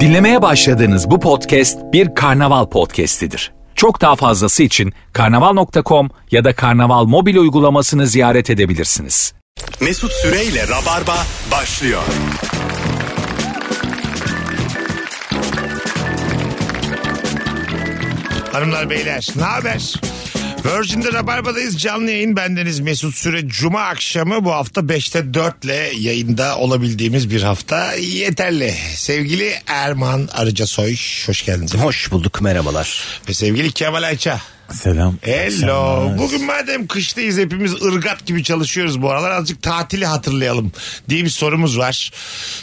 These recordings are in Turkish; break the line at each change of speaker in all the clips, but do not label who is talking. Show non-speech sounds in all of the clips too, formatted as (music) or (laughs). Dinlemeye başladığınız bu podcast bir karnaval podcastidir. Çok daha fazlası için karnaval.com ya da karnaval mobil uygulamasını ziyaret edebilirsiniz.
Mesut Süreyle Rabarba başlıyor.
Hanımlar beyler ne haber? Virgin'de Rabarba'dayız canlı yayın bendeniz Mesut Süre Cuma akşamı bu hafta 5'te 4 ile yayında olabildiğimiz bir hafta yeterli. Sevgili Erman Arıcasoy hoş geldiniz.
Hoş bulduk merhabalar.
Ve sevgili Kemal Ayça.
Selam.
Hello. Bugün madem kıştayız hepimiz ırgat gibi çalışıyoruz bu aralar azıcık tatili hatırlayalım diye bir sorumuz var.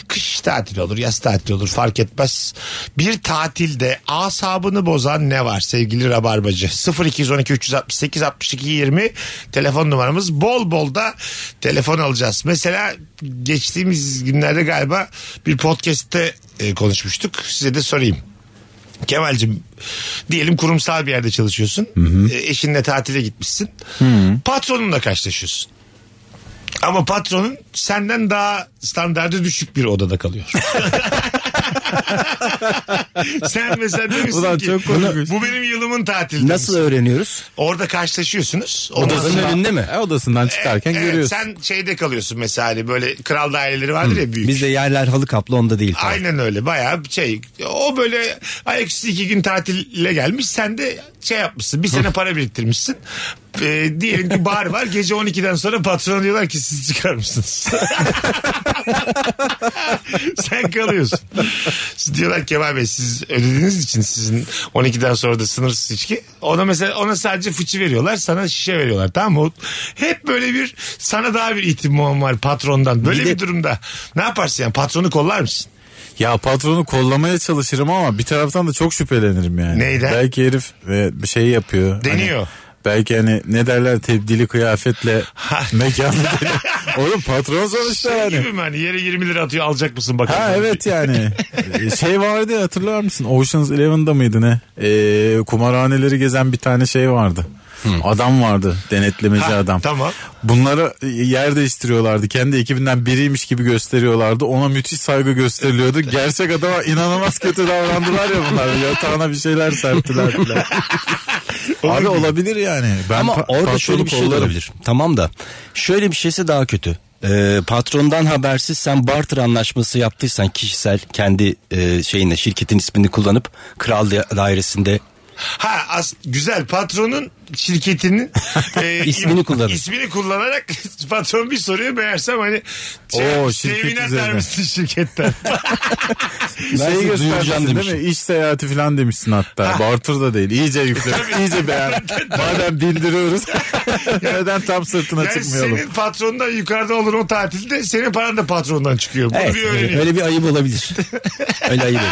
Kış tatili olur, yaz tatili olur fark etmez. Bir tatilde asabını bozan ne var sevgili Rabarbacı? 0212 368 62 20 telefon numaramız. Bol bol da telefon alacağız. Mesela geçtiğimiz günlerde galiba bir podcast'te e, konuşmuştuk. Size de sorayım. Kemal'cim diyelim kurumsal bir yerde çalışıyorsun. E, Eşinle tatile gitmişsin. Patronunla karşılaşıyorsun. Ama patronun senden daha standartı düşük bir odada
(laughs)
kalıyor. Sen mesela demişsin
Ulan
ki
çok korkunç.
bu benim yılımın tatili.
Nasıl
demişsin.
öğreniyoruz?
Orada karşılaşıyorsunuz. Ondan
Odasının
sonra-
önünde mi?
E, odasından çıkarken
Evet,
görüyorsun.
Sen şeyde kalıyorsun mesela hani böyle kral daireleri vardır ya büyük.
Bizde yerler halı kaplı onda değil. falan.
Aynen öyle bayağı bir şey. O böyle ayaküstü iki gün tatile gelmiş. Sen de şey yapmışsın bir sene para biriktirmişsin. Ee, diyelim ki bar var gece 12'den sonra patron diyorlar ki siz çıkar mısınız? (laughs) Sen kalıyorsun. Siz diyorlar Kemal Bey siz ödediğiniz için sizin 12'den sonra da sınırsız içki. Ona mesela ona sadece fıçı veriyorlar sana şişe veriyorlar tamam mı? O- Hep böyle bir sana daha bir ihtimam var patrondan. Böyle bir,
Bir de-
durumda ne yaparsın yani patronu kollar mısın?
Ya patronu kollamaya çalışırım ama bir taraftan da çok şüphelenirim yani.
Neyden?
Belki herif e, bir şey yapıyor.
Deniyor.
Hani belki hani ne derler tebdili kıyafetle
(laughs)
mekanı deniyor. Oğlum patron sonuçta
Şey
yani.
gibi mi hani yere 20 lira atıyor alacak mısın bakalım.
Ha evet yani. (laughs) E, şey vardı ya, hatırlar mısın? Ocean's Eleven'da mıydı ne? E, kumarhaneleri gezen bir tane şey vardı. Adam vardı denetlemeci
Ha,
adam.
tamam.
Bunlara yer değiştiriyorlardı. Kendi ekibinden biriymiş gibi gösteriyorlardı. Ona müthiş saygı gösteriliyordu. (laughs) Gerçek adama inanılmaz kötü davrandılar ya bunlar. Yatağına bir şeyler (laughs) serptiler. filan. Abi olabilir yani. Ben
Ama
pa-
orada
patronu
şöyle bir şey de
kollarım.
olabilir. Tamam da şöyle bir şeyse daha kötü. Ee, patrondan habersiz sen barter anlaşması yaptıysan kişisel kendi e, şeyine şirketin ismini kullanıp kral da- dairesinde
Ha as- güzel patronun şirketinin
(laughs)
e,
İsmini
im-
kullanır.
ismini kullanarak (laughs) patron bir soruyor meğersem hani
Oo,
şey,
şirket
teminat
üzerine.
vermişsin
(laughs)
şirketten.
Ben
Şeyi
sizi duyuracağım
göstermişsin değil mi?
demişim.
İş seyahati falan demişsin hatta. Bartır da değil. İyice yükle. iyice beğen.
(laughs)
Madem bildiriyoruz. Neden tam sırtına
yani
çıkmayalım?
senin patronundan yukarıda olur o tatilde senin paran da patrondan çıkıyor. Bunu
Evet,
bir öğreniyor.
öyle bir ayıp
(laughs)
olabilir. öyle ayıp olur.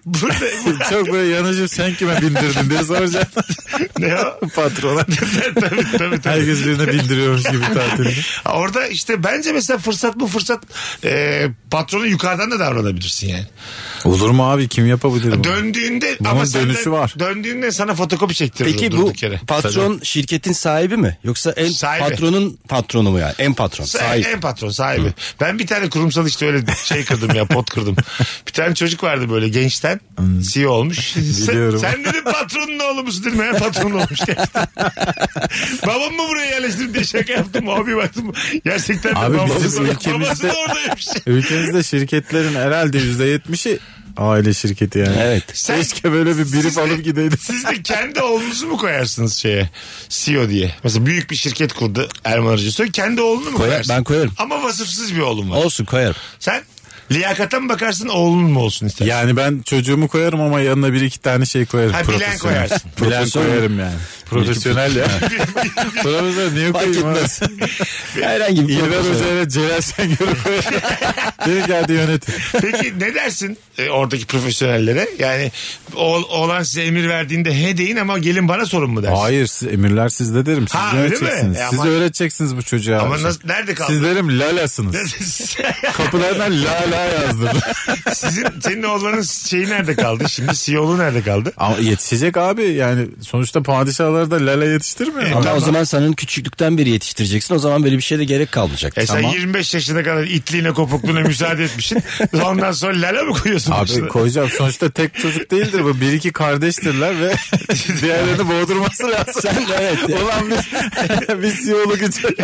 (laughs) Burada,
Çok böyle yanıcım sen kime bildirdin diye soracaksın
ne o? (laughs)
patrona.
tabii tabii. tabii.
Herkes birine bildiriyormuş gibi tatilini.
Orada işte bence mesela fırsat bu fırsat e, patronu yukarıdan da davranabilirsin yani.
Olur mu abi kim yapabilir bunu?
Döndüğünde
Bunun
ama senden-
dönüşü var.
Döndüğünde sana fotokopi çektirir
Peki bu
durduk yere.
patron şirketin sahibi mi? Yoksa en
Sahibi.
patronun patronu mu yani? En patron.
Sa-
Sahibi.
En patron sahibi. Ben bir tane kurumsal işte öyle şey kırdım ya pot
(laughs)
kırdım. Bir tane çocuk vardı böyle gençten CEO
(laughs)
olmuş. Sen-
Biliyorum.
Sen, dedim patronun oğlu musun dedim. He patronun olmuş.
(laughs)
Babam mı buraya yerleştirdi diye şaka yaptım. Abi baktım gerçekten de
Abi
babası,
bizim
da-
ülkemizde-
babası da oradaymış.
Ülkemizde şirketlerin herhalde %70'i şey, aile şirketi yani.
Evet.
Sen-
Keşke böyle bir
Siz
birip
de-
alıp gideydi.
Siz de kendi oğlunuzu mu koyarsınız şeye? CEO diye. Mesela büyük bir şirket kurdu Erman Arıcısoy. Kendi oğlunu mu
Koyar-
koyarsın?
ben koyarım.
Ama vasıfsız bir oğlum var.
Olsun koyarım.
Sen liyakata mı bakarsın oğlun mu olsun istersin?
Yani ben çocuğumu koyarım ama yanına bir iki tane şey koyarım.
Ha, bilen
Profesyonel.
koyarsın.
Bilen
Profesyonel.
koyarım yani. Profesyonel ya.
(laughs)
Profesyonel niye
Fark
koyayım? abi?
etmez. Herhangi bir
İlber
profesör.
Hoca'yla Celal Şengör'ü koyarım. Beni geldi yönet.
Peki ne dersin e, oradaki profesyonellere? Yani o, oğlan size emir verdiğinde he deyin ama gelin bana sorun mu dersin?
Hayır siz, emirler sizde derim. Siz
Ha, öyle mi?
öğreteceksiniz.
E,
Siz
ama-
öğreteceksiniz bu çocuğa.
Ama nasıl- nerede kaldı?
Siz derim lalasınız. Kapılardan lala daha yazdırdı.
(laughs) Sizin, senin oğlanın şeyi nerede kaldı? Şimdi CEO'lu nerede kaldı?
Ama yetişecek abi yani sonuçta padişahları da lala
E,
yetiştirmiyor.
Ama
Ama
o zaman sen onu küçüklükten beri yetiştireceksin. O zaman böyle bir şeye de gerek kalmayacak.
E sen
Ama
25 yaşına kadar itliğine kopukluğuna müsaade etmişsin. Ondan sonra lala mı koyuyorsun? başına?
Abi koyacağım sonuçta tek çocuk değildir bu. Bir iki kardeştirler (laughs) ve diğerlerini boğdurması lazım.
sen evet.
Ulan biz, biz (laughs) CEO'luk için.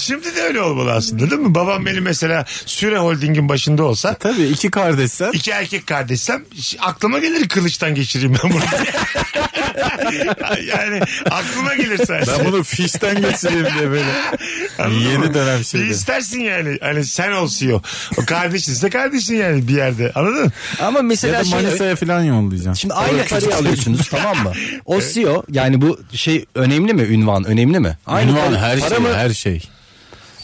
Şimdi de öyle olmalı aslında değil mi? Babam benim mesela Süre Holding'in başında olsa
Tabii iki kardeşsen
iki erkek kardeşsem ş- aklıma gelir kılıçtan geçireyim ben (laughs) bunu. yani aklıma gelir sadece.
ben bunu fişten geçireyim diye böyle.
Anladın
Yeni
mı?
dönem
Bir
şeydi.
istersin yani. Hani sen ol CEO. O kardeşinse kardeşin yani bir yerde. Anladın mı?
Ama mesela
Ya da
şey-
Manisa'ya falan yollayacağım.
Şimdi aynı parayı
(laughs)
alıyorsunuz tamam mı? O CEO yani bu şey önemli mi ünvan önemli mi? Aynı
Ünvan
para-
her
para
şey
mı?
her şey.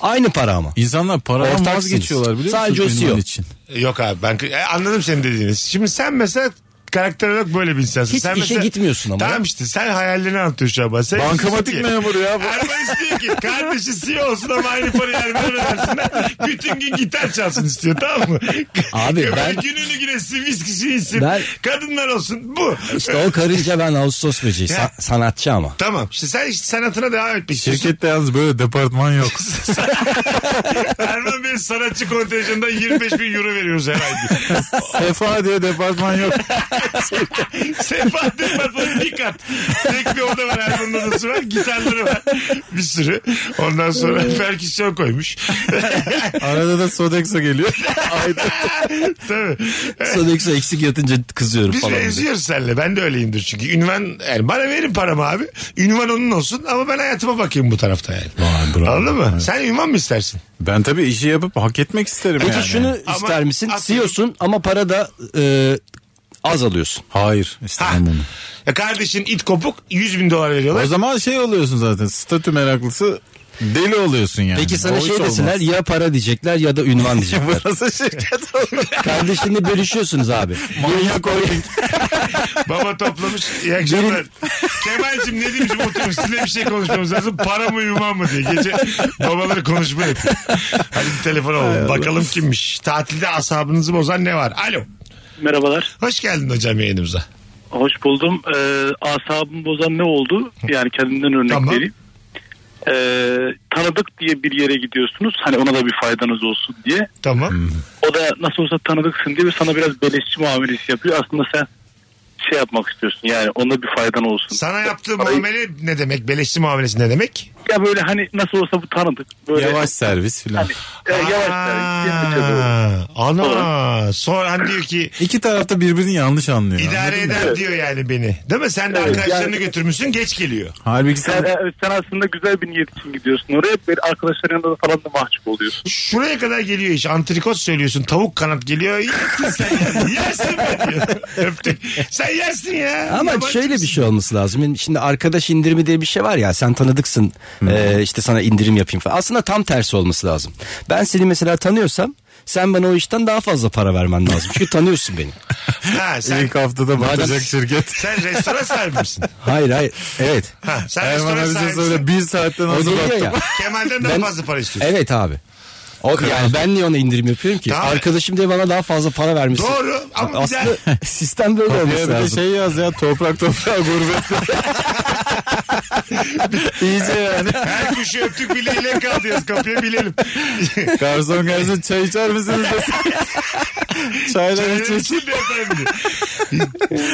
Aynı para mı?
İnsanlar paradan
Ortaksınız.
vazgeçiyorlar biliyor
Sadece o
musun?
CEO.
ünvan için.
Yok abi ben e, anladım senin dediğiniz. Şimdi sen mesela karakter olarak böyle bir insansın.
Hiç
sen
işe
mesela-
gitmiyorsun ama
Tamam
ya.
işte sen hayallerini anlatıyorsun şu an bana. Sen
Bankamatik
diyorsun ki-
memuru ya bu.
Erman istiyor ki kardeşi CEO olsun ama aynı parayı Erman'a versinler. (laughs) Bütün gün gitar çalsın istiyor tamam mı?
Abi
Öbür
ben-
Gününü güneşsin, viskisini içsin,
Ben-
kadınlar olsun bu.
İşte o karınca ben Ağustos böceği
Ya.
sa- sanatçı ama.
Tamam işte sen işte sanatına devam etmek istiyorsun.
Şirkette yalnız böyle departman (laughs) yok.
(laughs) Erman Bey sanatçı kontenjanından 25 bin euro veriyoruz her ay.
(laughs)
Sefa diye departman yok.
Sefa Demirbaş'ın bir kat. Tek bir oda var Erman'ın odası var. Gitarları var. Bir sürü. Ondan sonra perküsyon koymuş.
Arada da Sodexo geliyor. Ayda.
(laughs) Tabii.
Sodexo eksik yatınca kızıyorum
Biz
falan. diye.
benziyoruz seninle. Ben de öyleyimdir çünkü. Ünvan yani bana verin paramı abi. Ünvan onun olsun ama ben hayatıma bakayım bu tarafta yani.
Vay, bravo.
Anladın mı?
Evet.
Sen ünvan mı istersin?
Ben tabii işi yapıp hak etmek isterim
Peki
yani.
şunu
Ama
ister misin?
atıyorum-
CEO'sun ama para da e, az alıyorsun.
Hayır
Ha.
istemem bunu.
Ya kardeşin it kopuk 100 bin dolar veriyorlar.
O zaman şey oluyorsun zaten statü meraklısı deli oluyorsun yani.
Peki
O
sana
hiç
şey
olmaz.
desinler
(laughs)
ya para diyecekler ya da ünvan (laughs) diyecekler.
Burası şirket olur.
Kardeşini bölüşüyorsunuz abi.
Manyak holding.
Baba toplamış. İyi
(laughs)
akşamlar. Kemal'cim ne diyeyim şimdi oturmuş sizinle bir şey konuşmamız lazım. Para mı yuman mı diye. Gece babaları konuşma yapıyor. Hadi bir telefon alalım. Bakalım kimmiş. Tatilde asabınızı bozan ne var? Alo.
Merhabalar.
Hoş geldin hocam yayınımıza.
Hoş buldum. Ee, asabımı bozan ne oldu? Yani kendimden örnek
Tamam.
vereyim. Ee, tanıdık diye bir yere gidiyorsunuz. Hani ona da bir faydanız olsun diye.
Hmm.
Tamam.
O da nasıl olsa tanıdıksın diye sana biraz beleşçi muamelesi yapıyor. Aslında sen şey yapmak istiyorsun. Yani ona bir faydan olsun.
Sana yaptığı
Parayı-
muamele ne demek? Beleşçi muamelesi ne demek?
Ya böyle hani nasıl olsa bu tanıdık. Böyle
Yavaş servis filan.
Hani, ya yavaş.
Aa,
yani,
şey
yapacağız onu.
Ana. Sonra hani diyor ki
İki tarafta birbirini yanlış anlıyor.
idare
anladın mı?
eder diyor yani beni. Değil mi? Sen de arkadaşlarını götürmüşsün geç geliyor.
Halbuki sen
Sen, e, sen aslında güzel bir niyet için gidiyorsun oraya. Böyle arkadaşların yanında da falan da mahcup oluyorsun.
Şuraya kadar geliyor iş. Antrikot söylüyorsun. Tavuk kanat geliyor. Yersin sen. (laughs) yersin be diyor. Öptük. Sen yersin ya.
Ama
Yabancı
şöyle bir
mısın?
şey olması lazım. Yani Şimdi arkadaş indirimi diye bir şey var ya sen tanıdıksın ee, işte sana indirim yapayım falan. Aslında tam tersi olması lazım. Ben seni mesela tanıyorsam sen bana o işten daha fazla para vermen lazım. Çünkü tanıyorsun beni. şey-
Ha, sen,
ilk haftada batacak şirket.
sen restoran sahibi misin?
Hayır hayır evet.
Ha, sen
Erman
restoran
abi
sahibisin.
size söyle bir saatten
O
nasıl
geliyor
baktım.
ya.
Kemal'den daha
Ben-
fazla para istiyorsun.
Evet abi. O, yani ben niye ona indirim yapıyorum ki?
Tamam.
Arkadaşım diye bana daha fazla para vermesi.
Doğru ama bir
Aslında (laughs) sistem böyle
Ya
olması
bir de
lazım.
şey yaz ya toprak
(laughs)
toprağa gurbet. İyice yani.
daha- her kuşu öptük bile ile kalıyoruz kapıya bilelim.
Garson gelsin çay içer misiniz
(laughs)
desin. Çaylar
Çayların
içecek.
içinde efendim.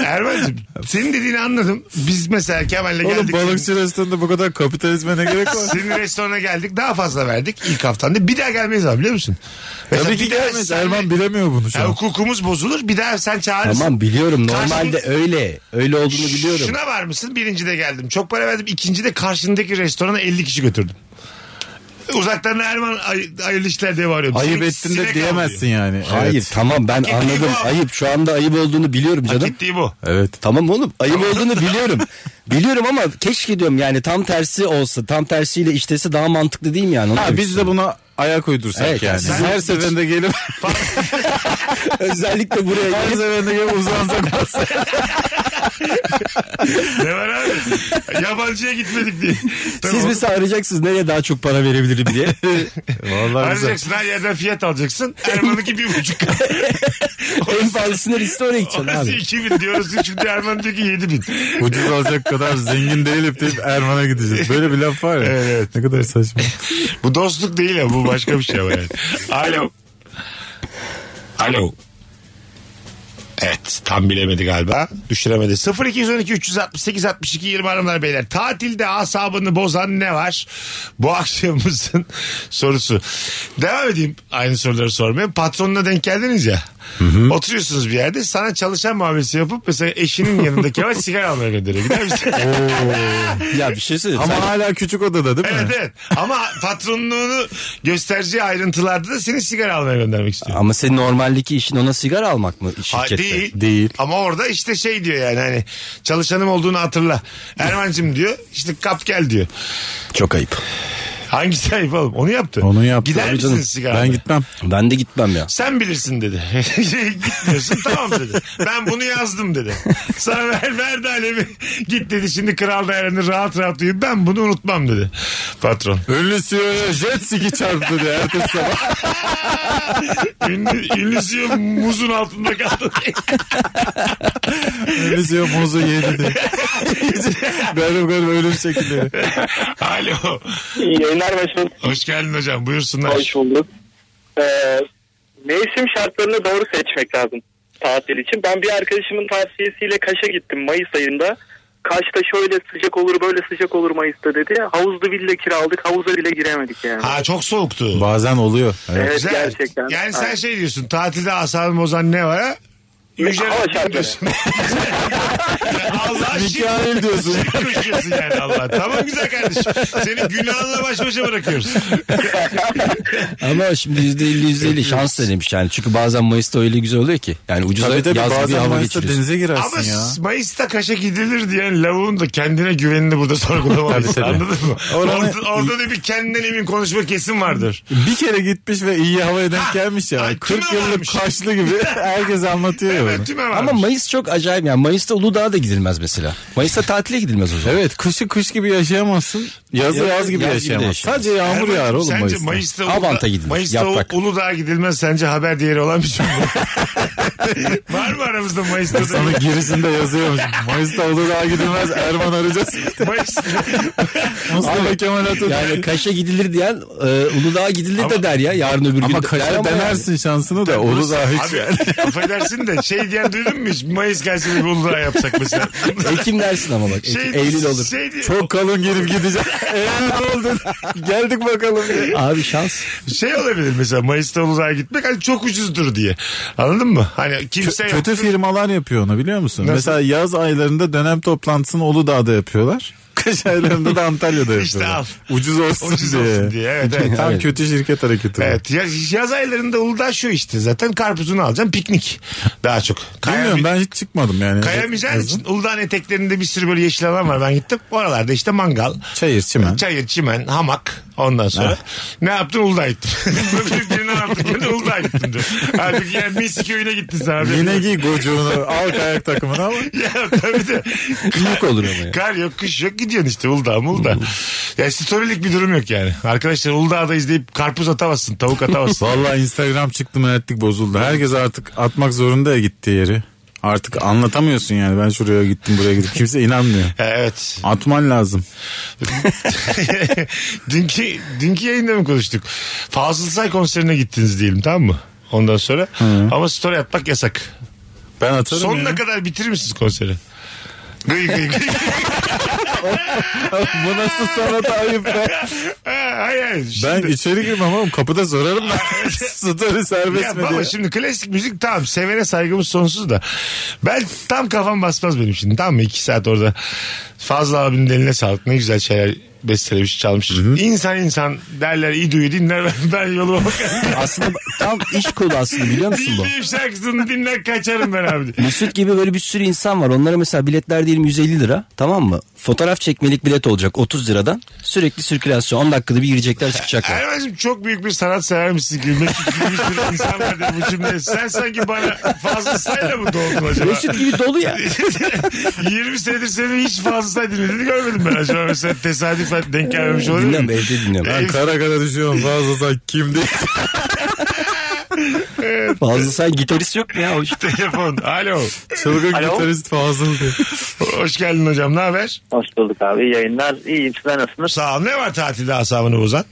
Erman'cığım senin dediğini anladım. Biz mesela Kemal'le geldik.
Oğlum balıkçı restoranda bu kadar kapitalizme ne gerek var?
Senin restorana geldik daha fazla verdik ilk haftanda. Bir daha gelmeyiz abi biliyor musun? Mesela
Tabii ki
bir daha
gelmez.
sen-
Erman bilemiyor bunu şu
Ya
an.
hukukumuz bozulur bir daha sen çağırırsın.
Tamam biliyorum normalde
Karşılık-
öyle. Öyle olduğunu biliyorum.
Şuna var mısın? Birinci de geldim. Çok para verdim. İkinci de karşındaki restorana 50 kişi götürdüm. Uzaktan Erman ay- hayırlı işler diye bağırıyorum.
Ayıp
Sinek-
ettin de
sinek
diyemezsin
avlıyor.
yani.
Hayır
Evet.
tamam ben
ettiği
anladım.
bu.
Ayıp şu anda ayıp olduğunu biliyorum canım.
Gittiği bu.
Evet.
Tamam oğlum ayıp olduğunu biliyorum.
(laughs)
biliyorum ama keşke diyorum yani tam tersi olsa tam tersiyle iştesi daha mantıklı değil mi yani? Onu
Ha,
demek
biz de
istiyorum.
buna ayak uydursak
Evet,
yani.
sen-
her
(laughs)
seferinde gelip
özellikle buraya
her
gelip
seferinde gelip uzansak
ne var
(laughs)
abi? Yabancıya gitmedik diye.
Siz mesela arayacaksınız nereye daha çok para verebilirim diye.
(laughs) Vallahi güzel.
Arayacaksın her yerden fiyat alacaksın. Erman'ınki bir buçuk.
en pahalısına liste oraya gideceksin
Orası
abi.
iki bin diyoruz. Şimdi Erman diyor ki yedi bin.
Ucuz olacak kadar zengin değilim deyip Erman'a gideceğiz. Böyle bir laf var ya.
Evet.
Ne kadar saçma.
Bu dostluk değil ya bu başka bir şey var yani. Alo. Alo. Evet tam bilemedi galiba. Düşüremedi. 0212 368 62 20 hanımlar beyler. Tatilde asabını bozan ne var? Bu akşamımızın (laughs) sorusu. Devam edeyim aynı soruları sormaya. Patronuna denk geldiniz ya. Oturuyorsunuz bir yerde. Sana çalışan muamelesi yapıp mesela eşinin yanındaki ama sigara almaya gönderiyor. Gider misin?
Ya bir şey söyleyeyim.
Ama hala küçük odada değil mi?
Evet evet. Ama patronluğunu göstereceği ayrıntılarda da seni sigara almaya göndermek istiyor.
Ama senin normaldeki işin ona sigara almak mı
Ha,
şirkette?
değil.
Değil.
Ama orada işte şey diyor yani hani çalışanım olduğunu hatırla. Erman'cım diyor işte kap gel diyor.
Çok ayıp.
Hangisi ayıp oğlum onu yaptı.
Onu yaptı.
Gider
Tabii
misin
canım.
sigara?
Ben gitmem.
Ben de gitmem ya.
Sen bilirsin dedi. (laughs) Gitmiyorsun tamam dedi. Ben bunu yazdım dedi. Sana ver, ver de alemi. Git dedi şimdi kral daireni rahat rahat uyu. Ben bunu unutmam dedi patron.
Ünlü CEO'ya jet ski çarptı diye ertesi sabah.
Ünlü, ünlü CEO muzun altında kaldı.
Ünlü CEO muzu
(laughs)
yedi diye. garip garip ölüm şekilleri.
(laughs) Alo.
İyi yayınlar başım.
Hoş geldin hocam. Buyursunlar.
Hoş bulduk. Ee, mevsim şartlarını doğru seçmek lazım tatil için. Ben bir arkadaşımın tavsiyesiyle Kaş'a gittim Mayıs ayında. Kaş'ta şöyle sıcak olur böyle sıcak olur Mayıs'ta dedi. Havuzlu villa kiraladık havuza bile giremedik yani.
Ha çok soğuktu.
Bazen oluyor. Evet.
Evet,
Güzel.
gerçekten.
Yani sen
Aynen.
şey diyorsun tatilde asabını bozan ne var ha? Yüce
Hava şartları.
diyorsun. (laughs) Allah şirk
Mikail diyorsun.
şirk koşuyorsun yani Allah. Tamam güzel kardeşim. Seni günahınla baş başa bırakıyoruz.
Ama şimdi yüzde elli yüzde elli şans da demiş yani. Çünkü bazen Mayıs'ta öyle güzel oluyor ki. Yani ucuza
Tabii tabii
yaz bir
bazen
hava
Mayıs'ta
geçiriyorsun.
denize girersin
Ama
ya.
Mayıs'ta kaşa gidilir diyen lavuğun da kendine güvenini burada sorgulamalıyız.
Tabii, tabii.
Anladın mı?
Oranı-
Orada, orada da bir kendinden emin konuşma kesim vardır.
Bir kere gitmiş ve iyi havaya denk gelmiş ya.
ay,
40
tüme
yıllık
varmış.
kaşlı (laughs) gibi herkes anlatıyor ya bunu.
Evet, tüme varmış.
Ama Mayıs çok acayip yani. Mayıs'ta Uludağ'a da gidilmez mesela. Mayıs'ta tatile gidilmez o zaman.
Evet kışı kış gibi yaşayamazsın.
Yazı
Yazı yaz, gibi
yaz gibi yaşayamazsın.
yaşayamazsın. Sadece yağmur
Erman'cığım,
yağar oğlum
sence
Mayıs'ta.
Mayıs'ta
Abant'a gidilir,
Mayıs'ta
yaprak.
U- Uludağ'a gidilmez sence haber değeri olan bir şey
(laughs)
mi? Var mı aramızda Mayıs'ta da?
Sana
(laughs)
gerisinde yazıyormuş. Mayıs'ta olur daha gidilmez. Erman arayacağız.
Mayıs.
Mustafa Kemal Atatürk.
Yani Kaş'a gidilir diyen e, Uludağ'a gidilir de der ya. Yarın öbür gün.
ama
de-
kaşa
der ama
denersin şansını da. Olur (laughs) daha hiç.
Abi affedersin de şey diyen duydun mu hiç? Mayıs gelse de bir Uludağ yapsak
(laughs)
mesela. (laughs)
yani. Ekim dersin ama bak. Ekim, Eylül olur.
Şey diye-
Çok kalın
(laughs)
gelip gideceğim. Eylül oldu. Geldik bakalım. diye.
Abi şans.
şey olabilir mesela Mayıs'ta Uludağ'a gitmek hani çok ucuzdur diye. Anladın mı? Hani kimse
Kö-
yok.
kötü firmalar yapıyor onu biliyor musun?
Nasıl?
Mesela yaz aylarında dönem toplantısını Uludağ'da yapıyorlar. (laughs) Kış aylarında da Antalya'da yapıyorlar.
İşte
Ucuz olsun
Ucuz
diye.
olsun diye.
(laughs)
Evet, evet.
Tam
Evet.
kötü şirket hareketi. bu.
Evet yaz, yaz aylarında Uludağ şu işte zaten karpuzunu alacaksın piknik daha çok.
(laughs) Bilmiyorum ben hiç çıkmadım yani.
Kayamayacağın için Uludağ'ın eteklerinde bir sürü böyle yeşil alan var ben gittim. Oralarda işte mangal,
Çayır çimen.
çayır, çimen, hamak ondan sonra. Ne yaptın Uludağ'a (laughs) gittim. Böyle ne yaptın gene Uludağ'a gittim diyor. Halbuki yani mis köyüne gittin sen. abi.
Yine giy gocuğunu al kayak takımını
(laughs)
ama.
ya tabii de.
Büyük olur ama ya.
Kar yok kış yok gidiyorsun işte Uludağ Uludağ. ya storylik bir durum yok yani. Arkadaşlar Uludağ'da izleyip karpuz atamazsın tavuk
(laughs)
atamazsın.
Vallahi Instagram çıktı mertlik bozuldu. Herkes artık atmak zorunda ya gittiği yeri. Artık anlatamıyorsun yani ben şuraya gittim buraya gittim. Kimse inanmıyor.
evet. (laughs)
Atman lazım.
dünkü dünkü yayında mı konuştuk? Fazıl Say konserine gittiniz diyelim tamam mı? Ondan sonra ama story atmak yasak.
Ben atarım
Sonuna
ya.
kadar bitirir misiniz konseri? Gıy gıy gıy.
Bu nasıl
(laughs)
sanat ayıp be.
Ha, Ee, hayır hayır.
Ben
Şimdi-
içeri girmem oğlum kapıda sorarım
(laughs)
ben. (laughs) Story serbest
Ya
mi
baba
diye.
şimdi klasik müzik tamam sevene saygımız sonsuz da ben tam kafam basmaz benim şimdi tamam mı iki saat orada fazla abinin eline sağlık ne güzel şeyler bestelemiş çalmış İnsan insan derler iyi duyu dinler ben, ben (laughs) yoluma bakarım
Aslında tam iş kolu aslında biliyor musun bu?
dinleyip şarkısını dinler kaçarım ben abi
Mesut gibi böyle bir sürü insan var. Onlara mesela biletler diyelim 150 lira. Tamam mı? fotoğraf çekmelik bilet olacak 30 liradan. Sürekli sirkülasyon 10 dakikada bir
(laughs)
girecekler çıkacaklar.
Erman'cığım çok büyük bir sanat sever misin? Gülmek gibi bir insan var diye bu cümle. Sen sanki bana fazla sayla mı doğdun acaba?
Mesut gibi dolu ya.
(laughs) 20 senedir seni hiç fazla say dinlediğini görmedim ben acaba. Mesela tesadüfen denk gelmemiş olabilir
Dinliyorum
mi?
evde dinliyorum.
Ben kara kara düşüyorum fazla sen kim değil.
Fazla sen gitarist yok mu ya? O işte.
(laughs) Telefon. Alo.
Çılgın
Alo?
gitarist fazla diye.
Hoş geldin hocam. Ne haber?
Hoş bulduk abi. İyi yayınlar. İyiyim. Sizler nasılsınız?
Sağ ol. Ne var tatilde asabını bozan?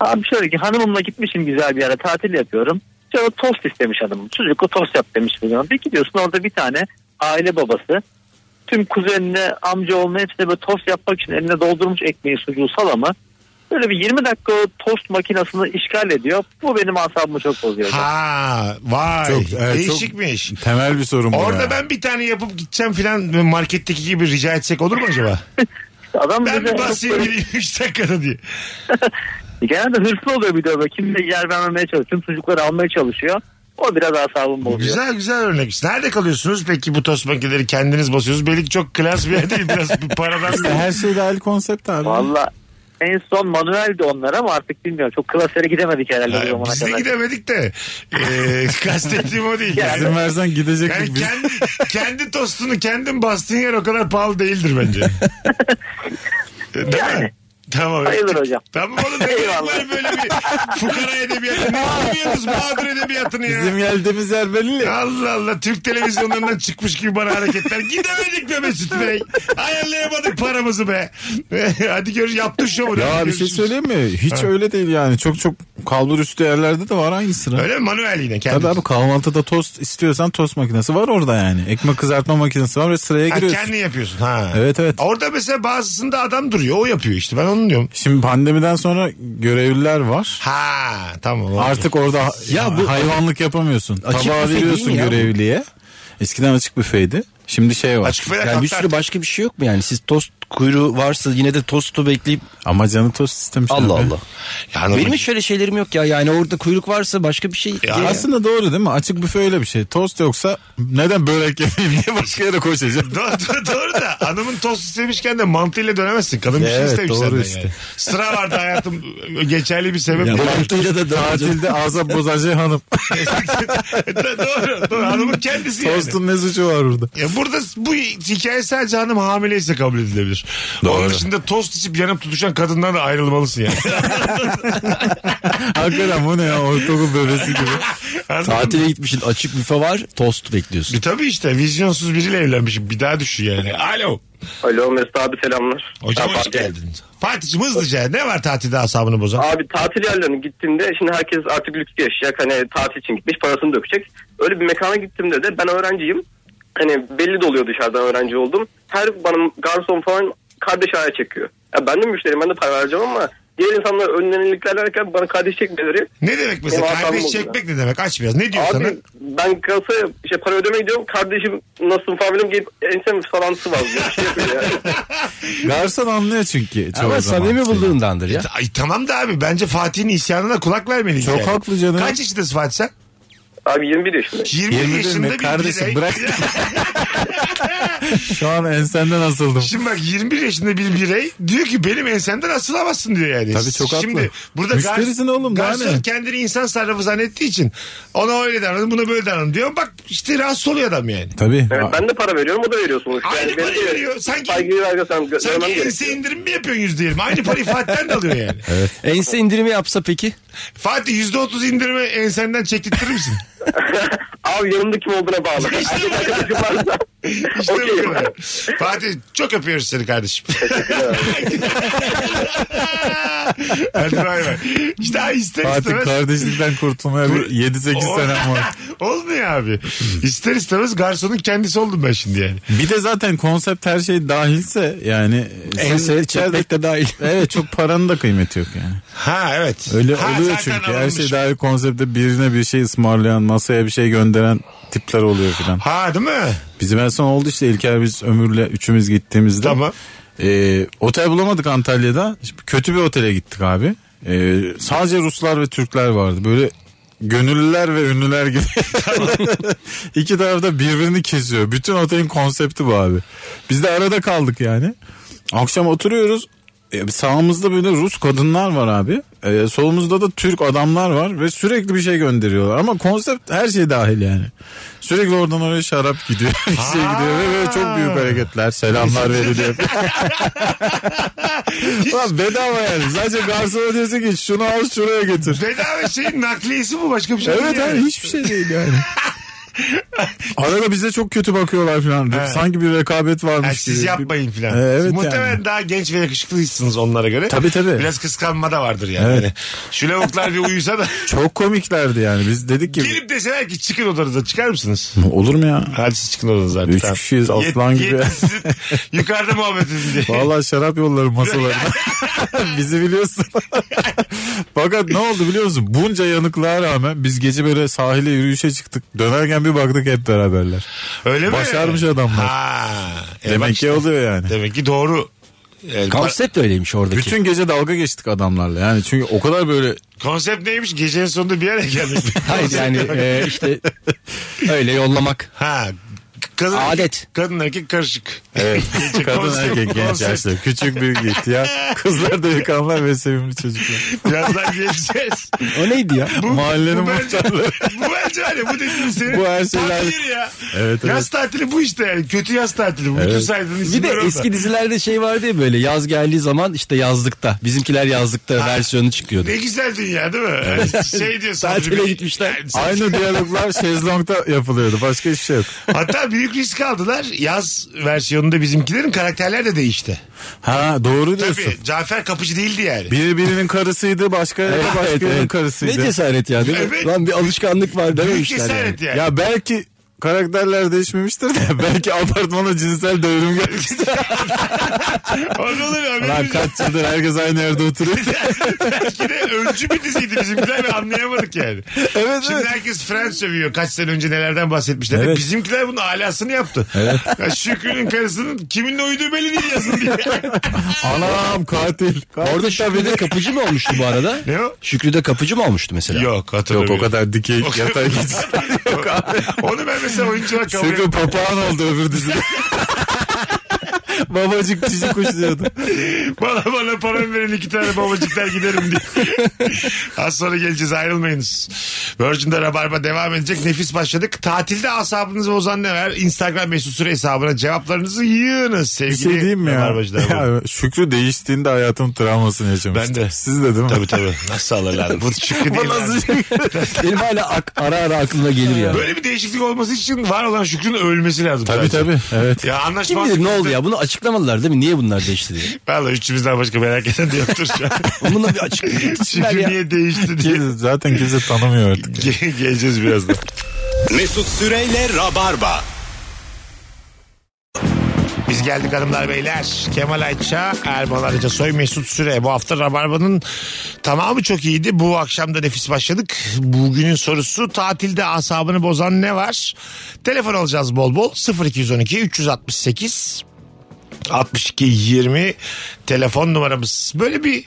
Abi şöyle ki hanımımla gitmişim güzel bir yere tatil yapıyorum. Sonra tost istemiş hanımım. Çocuk o tost yap demiş. falan. Bir gidiyorsun orada bir tane aile babası. Tüm kuzenine, amca olma hepsine böyle tost yapmak için eline doldurmuş ekmeği, sucuğu, salamı. Böyle bir 20 dakika o tost makinesini işgal ediyor. Bu benim asabımı çok bozuyor.
Ha vay.
Çok, evet, çok-
Değişikmiş.
Temel bir sorun bu
Orada
ya.
ben bir tane yapıp gideceğim filan marketteki gibi rica etsek olur mu acaba?
Adam
Ben
bize-
bir basayım (laughs) geleyim 3 dakikada diye.
Genelde hırslı oluyor bir de böyle. Kimse yer vermemeye çalışıyor. Tüm çocukları almaya çalışıyor. O biraz asabım bozuyor.
Güzel güzel örnek. Nerede kalıyorsunuz peki bu tost makineleri kendiniz basıyorsunuz? Belki çok klas bir yer değil. Biraz bir paradan
(laughs)
Her şey dahil konsept abi.
Valla en son manueldi onlar ama artık bilmiyorum. Çok klasere gidemedik herhalde o
Yani
zamana
biz de
kadar.
gidemedik de
(laughs)
e, kastettiğim o değil.
Yani-
Yani,
İzin versen gidecektik
yani
biz.
kendi, kendi tostunu kendin bastığın yer o kadar pahalı değildir
(laughs)
bence. E, Değil mi? Tamam.
Hayırdır
öptük.
hocam.
Tamam oğlum ne gerek var
Eyvallah.
böyle bir fukara edebiyatı. Ne yapıyorsunuz mağdur edebiyatını ya?
Bizim geldiğimiz yer belli.
Allah Allah Türk televizyonlarından çıkmış gibi bana hareketler. Gidemedik be Mesut Bey. Ayarlayamadık paramızı be. (laughs) Hadi gör yaptı şovu.
Ya
Hadi
bir şey
görüşürüz.
söyleyeyim mi? Hiç öyle değil yani. Çok çok kalbur üstü yerlerde de var aynısını.
Öyle mi? Manuel yine kendi.
Tabii abi kahvaltıda tost istiyorsan tost makinesi var orada yani. Ekmek kızartma makinesi var ve sıraya
Ha,
giriyorsun.
kendi yapıyorsun. Ha.
Evet, evet.
Orada mesela bazısında adam duruyor. O yapıyor işte. Ben onu diyorum.
Şimdi pandemiden sonra görevliler var.
Ha tamam.
Artık orada ya
Ya bu-
bu hayvanlık yapamıyorsun.
Açık
Tabağı
büfe değil
veriyorsun
mi ya bu?
görevliye. Eskiden açık büfeydi. Şimdi şey var.
açık falan
Yani bir sürü başka bir şey yok mu yani? Siz tost kuyruğu varsa yine de tostu bekleyip
Ama canı tost istemişler.
Allah
be.
Allah. Benim hiç şöyle şeylerim yok ya. Yani orada kuyruk varsa başka bir şey.
Ya
Ya.
Aslında doğru değil mi? Açık büfe öyle bir şey. Tost yoksa neden börek yemeyeyim diye başka yere
(laughs) (laughs)
koşacağım.
doğru, doğru, doğru da hanımın tost istemişken de mantığıyla dönemezsin. Kadın bir şey
Evet,
istemiş
doğru
senden yani.
işte.
Sıra vardı hayatım geçerli bir sebep.
Ya
değil.
mantığıyla da dağılacak.
Tatilde azap bozan şey hanım.
(laughs) doğru, doğru. Hanımın kendisi (laughs) yani.
Tostun ne suçu var burada?
Ya burada bu hikaye sadece hanım hamileyse kabul edilebilir. Onun dışında tost içip yanıp tutuşan kadından da ayrılmalısın yani.
(laughs) Hakikaten bu ne ya ortaokul bebesi gibi.
Anladın mı?
Tatile gitmişsin açık büfe var tost bekliyorsun.
E tabii işte vizyonsuz biriyle evlenmişim. Bir daha düşün yani. Alo.
Alo Mesut abi selamlar.
Hocam
Ben
hoş
Fatih.
geldin. Fatih'cim hızlıca ne var tatilde asabını bozan?
Abi tatil yerlerine gittiğimde şimdi herkes artık lüks yaşayacak. Hani tatil için gitmiş parasını dökecek. Öyle bir mekana gittiğimde de ben öğrenciyim. Hani belli de oluyor dışarıdan öğrenci oldum. Her bana garson falan kardeş ayağı çekiyor. Ya ben de müşteriyim ben de para vereceğim ama diğer insanlar önlenirliklerlerken bana kardeş çekmeleri
Ne demek mesela?
Benim asabım
Kardeş
bozuldu.
çekmek ne demek? Aç biraz. Ne diyor sana?
Abi ben kasaya şey, para ödemeye gidiyorum. Kardeşim nasılsın falan filan gelip ensem falan sıvaz diye bir şey yapıyor
(laughs)
yani.
Garson anlıyor çünkü çoğu
Ama
zaman.
samimi bulduğundandır ya.
Ay tamam da abi bence Fatih'in isyanına kulak vermeliyiz.
Çok
yani.
haklı canım.
Kaç yaşındasın Fatih sen?
Abi 21 yaşında.
20
21
yaşında
mi?
bir
Kardeşim
(laughs) birey.
bırak. Şu an ensenden asıldım.
Şimdi bak 21 yaşında bir birey diyor ki benim ensemden asılamazsın diyor yani.
Tabii çok haklı.
Şimdi burada
Müşterisin oğlum, daha
garson
ne?
kendini insan sarrafı zannettiği için ona öyle davranın buna böyle davranın diyor. Bak işte rahatsız oluyor adam yani.
Tabii.
Evet, ben de para veriyorum o da veriyor sonuçta.
Aynı
ben
parayı
de-
veriyor. Sanki-
Saygıyı vermesem gö-
Sanki
vermem
ense
gerekiyor.
indirim mi yapıyorsun yüzde yirmi? Aynı parayı Fatih'ten de alıyor yani.
Ense indirimi yapsa peki?
Fatih yüzde otuz indirimi ensenden çektirtir misin?
(laughs) Abi yanımda kim olduğuna bağlı.
İşte
Erkek
bu.
arkadaşım varsa.
İşte bu
Okey.
kadar. Fatih çok öpüyoruz seni kardeşim. Hadi bay bay. İşte ister
Fatih
istemez.
kardeşlikten kurtulmaya bir 7-8
O-
senem var.
(laughs) Olmuyor abi. İster istemez garsonun kendisi oldum ben şimdi yani.
Bir de zaten konsept her şey dahilse yani.
Ense çekmek de dahil.
Evet çok paranın da kıymeti yok yani.
Ha evet.
Öyle
Ha,
oluyor
zaten
çünkü her
alınmış.
şey dahil konsepte birine bir şey ısmarlayan masaya bir şey gönderen tipler oluyor filan.
Ha değil mi?
Bizim en son oldu işte İlker biz ömürle üçümüz gittiğimizde.
Tamam.
Ee, otel bulamadık Antalya'da. Şimdi kötü bir otele gittik abi. Ee, sadece Ruslar ve Türkler vardı. Böyle gönüllüler ve ünlüler gibi. İki tarafta birbirini kesiyor. Bütün otelin konsepti bu abi. Biz de arada kaldık yani. Akşam oturuyoruz. E, sağımızda böyle Rus kadınlar var abi. E, solumuzda da Türk adamlar var ve sürekli bir şey gönderiyorlar. Ama konsept her şey dahil yani. Sürekli oradan oraya şarap gidiyor. (laughs) bir şey gidiyor ve böyle çok büyük hareketler. Selamlar veriliyor. Ulan bedava yani. Sadece garsona diyorsun ki şunu al şuraya götür.
Bedava şeyin nakliyesi bu başka bir şey
Evet
değil
abi
yani.
hiçbir şey
(laughs)
değil yani. Arada bize çok kötü bakıyorlar falan. Sanki bir rekabet varmış
Ha,
gibi.
siz yapmayın filan.
Ee, evet
Muhtemelen
yani.
daha genç ve yakışıklıymışsınız onlara göre.
Tabii, tabii.
Biraz kıskanma da vardır yani.
Evet.
Yani Şu lavuklar bir uyusa
(laughs)
da
Çok komiklerdi yani. Biz dedik ki
gelip deseler ki çıkın odanıza çıkar mısınız?
olur mu ya?
Hadi siz çıkın odanıza artık.
Üç
tamam.
kişiyiz,
Yet-
aslan gibi.
yetti
(laughs)
sizin yukarıda muhabbet edin diye. (laughs)
Vallahi şarap yolları masalarına. (laughs) Bizi biliyorsun. Fakat ne oldu biliyor musun? Bunca yanıklığa rağmen biz gece böyle sahile yürüyüşe çıktık. Dönerken bir baktık hep beraberler.
Öyle mi?
Başarmış adamlar.
Ha, e bak
Demek
işte.
ki oluyor yani.
Demek ki doğru. E, Yani ba-
Konsept de öyleymiş oradaki.
Bütün gece dalga geçtik adamlarla yani. Çünkü o kadar böyle
konsept neymiş? Gecenin sonunda bir yere gelmek.
(laughs) (laughs) Hayır yani e, işte öyle yollamak.
ha. Kadın,
Adet.
Kadın erkek karışık. (laughs) Gece
kadın
konsept-
erkek genç
konsept.
yaşta. Küçük büyük ihtiyar. Kızlar da yıkanlar ve sevimli çocuklar.
Birazdan geleceğiz.
O neydi ya?
Mahallenin
bu bence-
muhtarları.
(laughs) bu bence var ya bu dediğin senin.
Bu her şeyler-
Tatil ya.
Evet,
Yaz tatili bu işte yani. Kötü yaz tatili bu. Bütün saydığın
Bir de
isimler orada.
eski dizilerde şey vardı ya böyle yaz geldiği zaman işte yazlıkta. Bizimkiler yazlıkta versiyonu çıkıyordu.
Ne güzel dünya değil mi? Yani (laughs) şey diyor Sabri
Tatile
Bey.
gitmişler.
Yani sen-
(laughs) Aynı diyaloglar şezlongda yapılıyordu. Başka hiçbir şey yok.
Hatta büyük risk aldılar. Yaz versiyonunda bizimkilerin karakterler de değişti.
Ha doğru diyorsun.
Tabii Cafer kapıcı değildi yani.
Biri birinin karısıydı başka yerde başka birinin karısıydı.
Ne cesaret ya değil mi?
Evet.
Lan bir alışkanlık var
Büyük
dememişler yani.
cesaret yani.
Ya belki karakterler değişmemiştir de (laughs) belki apartmana cinsel devrim gelmiştir.
Anladın mı?
Lan
Haberimiz yok.
kaç yıldır herkes aynı yerde oturuyor.
Belki de öncü bir diziydi bizimkiler ve anlayamadık yani.
evet
Şimdi
evet.
herkes Friends sövüyor. Kaç sene önce nelerden bahsetmişler.
Evet.
Bizimkiler bunun alasını yaptı. Ya Şükrü'nün karısının kiminle uyduğu belli değil yazın diye.
Anam katil. katil.
Orada Şükrü'de kapıcı mı olmuştu bu arada?
Ne o?
Şükrü'de kapıcı mı olmuştu mesela?
Yok
Yok
hatırlamıyorum.
o kadar dikey yatay git.
Yok abi. (laughs) Onu ben mesela oyuncular kabul
Çünkü
etmem.
papağan oldu öbür dizide. Babacık cici kuş diyordu.
Bana bana para verin iki tane babacıklar giderim
(laughs)
diye. Az sonra geleceğiz ayrılmayınız. Virgin'de Rabarba devam edecek. Nefis başladık. Tatilde asabınızı bozan ne var? Instagram mesut süre hesabına cevaplarınızı yığınız
Bir
sevgili
şey diyeyim mi ya?
Rabarbacılar.
ya Şükrü değiştiğinde hayatın travmasını yaşamıştım.
Ben de.
Siz de değil mi?
Tabii tabii. Nasıl (laughs) alırlar? Bu şükrü değil. abi.
Benim hala ak- ara ara aklımda gelir ya.
Böyle bir değişiklik olması için var olan Şükrü'nün ölmesi lazım.
Tabii
zaten.
tabii. Evet.
Ya
Kim
anlaşmaz.
bilir ne oldu ya bunu açıklamadılar değil mi? Niye bunlar değişti diye.
Valla üçümüzden başka merak eden de yoktur şu an.
Bununla bir
(laughs)
açıklama getirsinler
Şükrü
ya.
niye değişti diye.
(laughs) Kimse- zaten kimse tanımıyor artık.
Ge- Geleceğiz birazdan.
Mesut Süreyle Rabarba.
Biz geldik hanımlar beyler. Kemal Ayça, Erman Arıca Soy, Mesut Süre. Bu hafta Rabarba'nın tamamı çok iyiydi. Bu akşam da nefis başladık. Bugünün sorusu tatilde asabını bozan ne var? Telefon alacağız bol bol. 0212 368 62 20 telefon numaramız. Böyle bir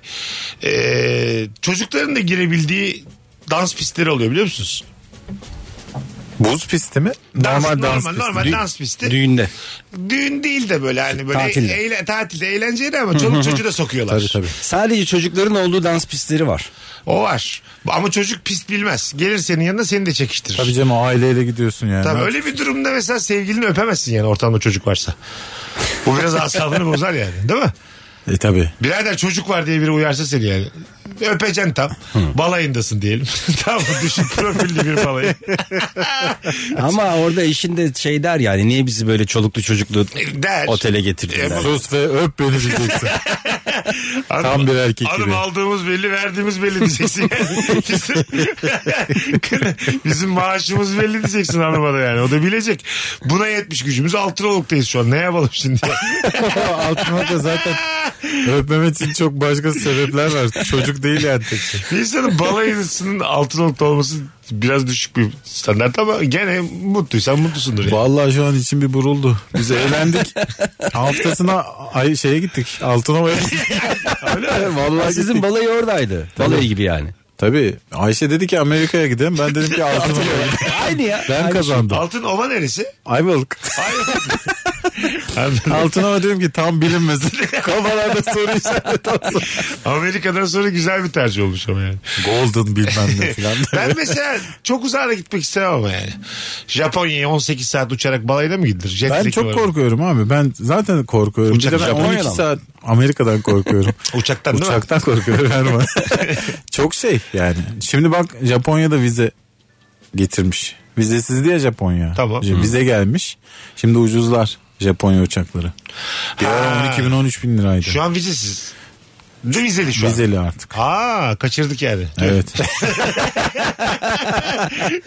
e, çocukların da girebildiği dans pistleri oluyor biliyor musunuz?
Buz pisti mi?
Dans-
normal dans
normal,
pisti.
normal
Dü-
dans pisti.
Düğünde.
Düğün değil de böyle hani böyle
Tatilde.
eyle, tatilde eğlenceli ama çoluk çocuğu da sokuyorlar.
Tabii tabii.
Sadece çocukların olduğu dans pistleri var.
O var. Ama çocuk pist bilmez. Gelir senin yanına seni de çekiştirir.
Tabii canım o aileyle gidiyorsun yani.
Tabii öyle bir durumda mesela sevgilini öpemezsin yani ortamda çocuk varsa. Bu biraz asabını bozar yani değil mi?
E tabii.
Birader çocuk var diye biri uyarsa seni yani. Öpeceksin tam. Balayındasın diyelim. (laughs) tamam mı? düşük profilli bir balayı.
Ama orada eşin de şey der yani niye bizi böyle çoluklu çocuklu
Der.
otele
E,
getirdiler.
Sus ve öp beni diyeceksin.
Hanım-
(laughs) Tam bir erkek
hanım
gibi.
aldığımız belli verdiğimiz belli diyeceksin.
(laughs)
Yani bizim, (laughs) bizim maaşımız belli diyeceksin hanıma da yani. O da bilecek. Buna yetmiş gücümüz. Altınoluk'tayız şu an. Ne yapalım şimdi? (laughs)
Altına da zaten öpmem için çok başka sebepler var. Çocuk değil yani tek şey.
Bir insanın balayısının Altınoluk'ta olması biraz düşük bir standart ama gene mutluysan mutlusundur yani.
Vallahi şu an içim bir buruldu. Biz (laughs) eğlendik. Haftasına ay şeye gittik. Altınova'ya gittik. Vallahi
Sizin
gittik.
balayı oradaydı. Balayı gibi yani.
Tabii. Ayşe dedi ki Amerika'ya gidelim. Ben dedim ki Altınova'ya gidelim.
Aynı ya.
Ben kazandım.
şey. Altın ova neresi?
Ayvalık.
Hayır. (laughs) Anladın mı?
Altına diyorum ki tam bilinmesin.
(laughs)
Kafalarda soru işareti olsun.
Amerika'dan sonra güzel bir tercih olmuş ama yani.
Golden bilmem ne filan.
Ben mesela çok uzağa da gitmek istemem ama yani. Japonya'ya 18 saat uçarak balayına mı gidilir? Jet
Ben
lag'i
çok
var.
korkuyorum abi. Ben zaten korkuyorum.
Uçak
bir de ben
Japonya'dan
12
mı?
saat Amerika'dan korkuyorum.
Uçaktan (laughs) değil mi?
Uçaktan korkuyorum. her
(laughs)
zaman. çok şey yani. Şimdi bak Japonya'da vize getirmiş. Vizesiz diye Japonya.
Tamam.
Şimdi Vize gelmiş. Şimdi ucuzlar Japonya uçakları. Bir
Ha.
ara 12 bin 13 bin liraydı.
Şu an vizesiz. Değil mi vizeli şu an?
Vizeli artık.
Aa kaçırdık yani.
Evet.
(laughs)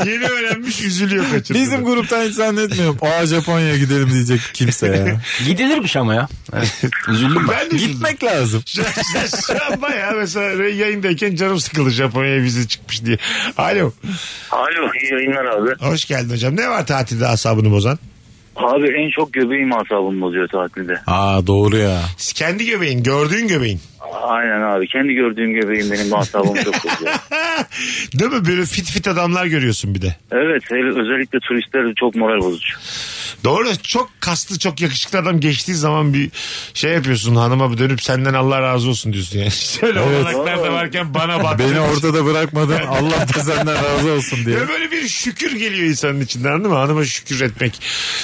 Yeni öğrenmiş üzülüyor kaçırdı.
(laughs) Bizim gruptan hiç zannetmiyorum. Aa Japonya'ya gidelim diyecek kimse ya.
(laughs)
Gidilirmiş ama ya. Evet, üzüldüm ben.
ben de üzüldüm.
Gitmek lazım.
Şu, şu, şu an bayağı mesela yayındayken canım sıkıldı Japonya'ya vize çıkmış diye. Alo.
Alo iyi yayınlar abi.
Hoş geldin hocam. Ne var tatilde asabını bozan?
Abi en çok göbeğim asabımı bozuyor tatilde.
Aa doğru ya.
Kendi göbeğin, gördüğün göbeğin.
Aynen abi kendi gördüğüm göbeğim benim asabımı çok
(laughs)
bozuyor.
Değil mi? Böyle fit fit adamlar görüyorsun bir de.
Evet hele özellikle turistler çok moral bozucu.
Doğru. Çok kaslı, çok yakışıklı adam geçtiği zaman bir şey yapıyorsun hanıma bir dönüp senden Allah razı olsun diyorsun yani. (laughs) Şöyle olanaklar da varken bana bak.
Beni ortada bırakmadın. Allah da senden razı olsun diye.
Ya böyle bir şükür geliyor insanın içinden anladın mı? Hanıma şükür etmek,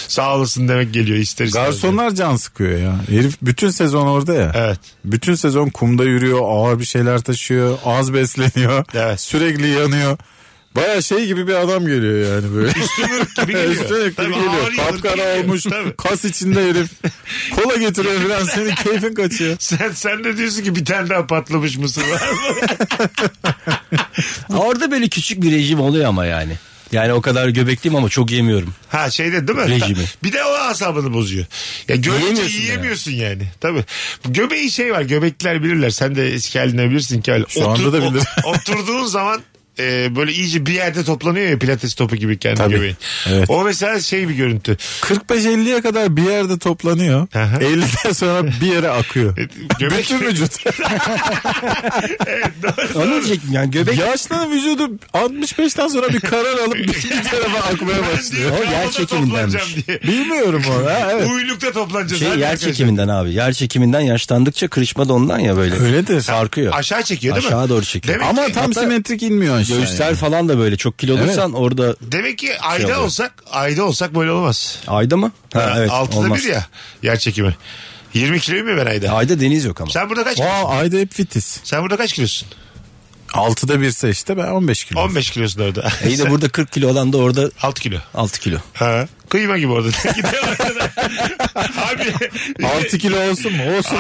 sağ olasın demek geliyor ister istemez.
Garsonlar can sıkıyor ya. Herif bütün sezon orada ya.
Evet.
Bütün sezon kumda yürüyor, ağır bir şeyler taşıyor, az besleniyor,
Evet.
sürekli yanıyor. Baya şey gibi bir adam geliyor yani böyle.
Üstümürk gibi geliyor.
(laughs) Üstüne
Tabii
geliyor.
ağır
Kapkara
yıldır
olmuş.
geliyor. Tabii.
Kas içinde
(laughs)
herif. Kola getiriyor falan. Senin keyfin kaçıyor.
Sen, sen de diyorsun ki bir tane daha patlamış mısın
(laughs)
var mı?
Orada böyle küçük bir rejim oluyor ama yani. Yani o kadar göbekliyim ama çok yemiyorum.
ha şeyde değil mi?
Rejimi.
Bir de o asabını bozuyor. Ya görünce
Yiyemiyorsun
yiyemiyorsun yani. Tabii. Göbeği şey var. Göbekliler bilirler. Sen de eski halinden bilirsin ki.
Şu anda da bilirim.
(laughs) oturduğun zaman e, böyle iyice bir yerde toplanıyor ya pilates topu gibi kendi
Tabii.
göbeğin.
Evet.
O mesela şey bir görüntü.
45-50'ye kadar bir yerde toplanıyor.
Aha. E,
50'den sonra bir yere akıyor.
Göbek-
Bütün vücut.
Onu diyecektim yani göbek.
Yaşlı vücudu 65'ten sonra bir karar alıp bir tarafa akmaya
diyor,
başlıyor.
O
ben
yer
orada
çekimindenmiş.
toplanacağım diye.
Bilmiyorum o. Ha, evet.
Uylukta toplanacağız.
Şey
Hadi
yer
arkadaşlar.
çekiminden abi. Yer çekiminden yaşlandıkça kırışma da ondan ya böyle.
Öyledir.
Sarkıyor.
Aşağı çekiyor değil mi?
Aşağı doğru çekiyor.
Demek
Ama
ki-
tam
Hatta
simetrik inmiyor aşağıya.
Göğüsler falan da böyle çok kilo olursan orada
Demek ki ayda
Şey oluyor.
olsak ayda olsak böyle olmaz.
ayda mı? Ha, evet
Altıda
olmaz.
bir ya yer çekimi. 20 kiloyum ya ben ayda.
Ayda deniz yok ama.
Sen burada kaç
Aa, ayda hep fitiz.
Sen burada kaç kilosun?
6'da birse işte ben 15 kilo.
15 kilosun orada.
İyi de E burada 40 kilo olan da orada
6 kilo.
6 kilo.
Ha. Kıyma gibi orada. (laughs) Gidiyor
(laughs)
arkada. Abi
6 kilo olsun mu? Olsun.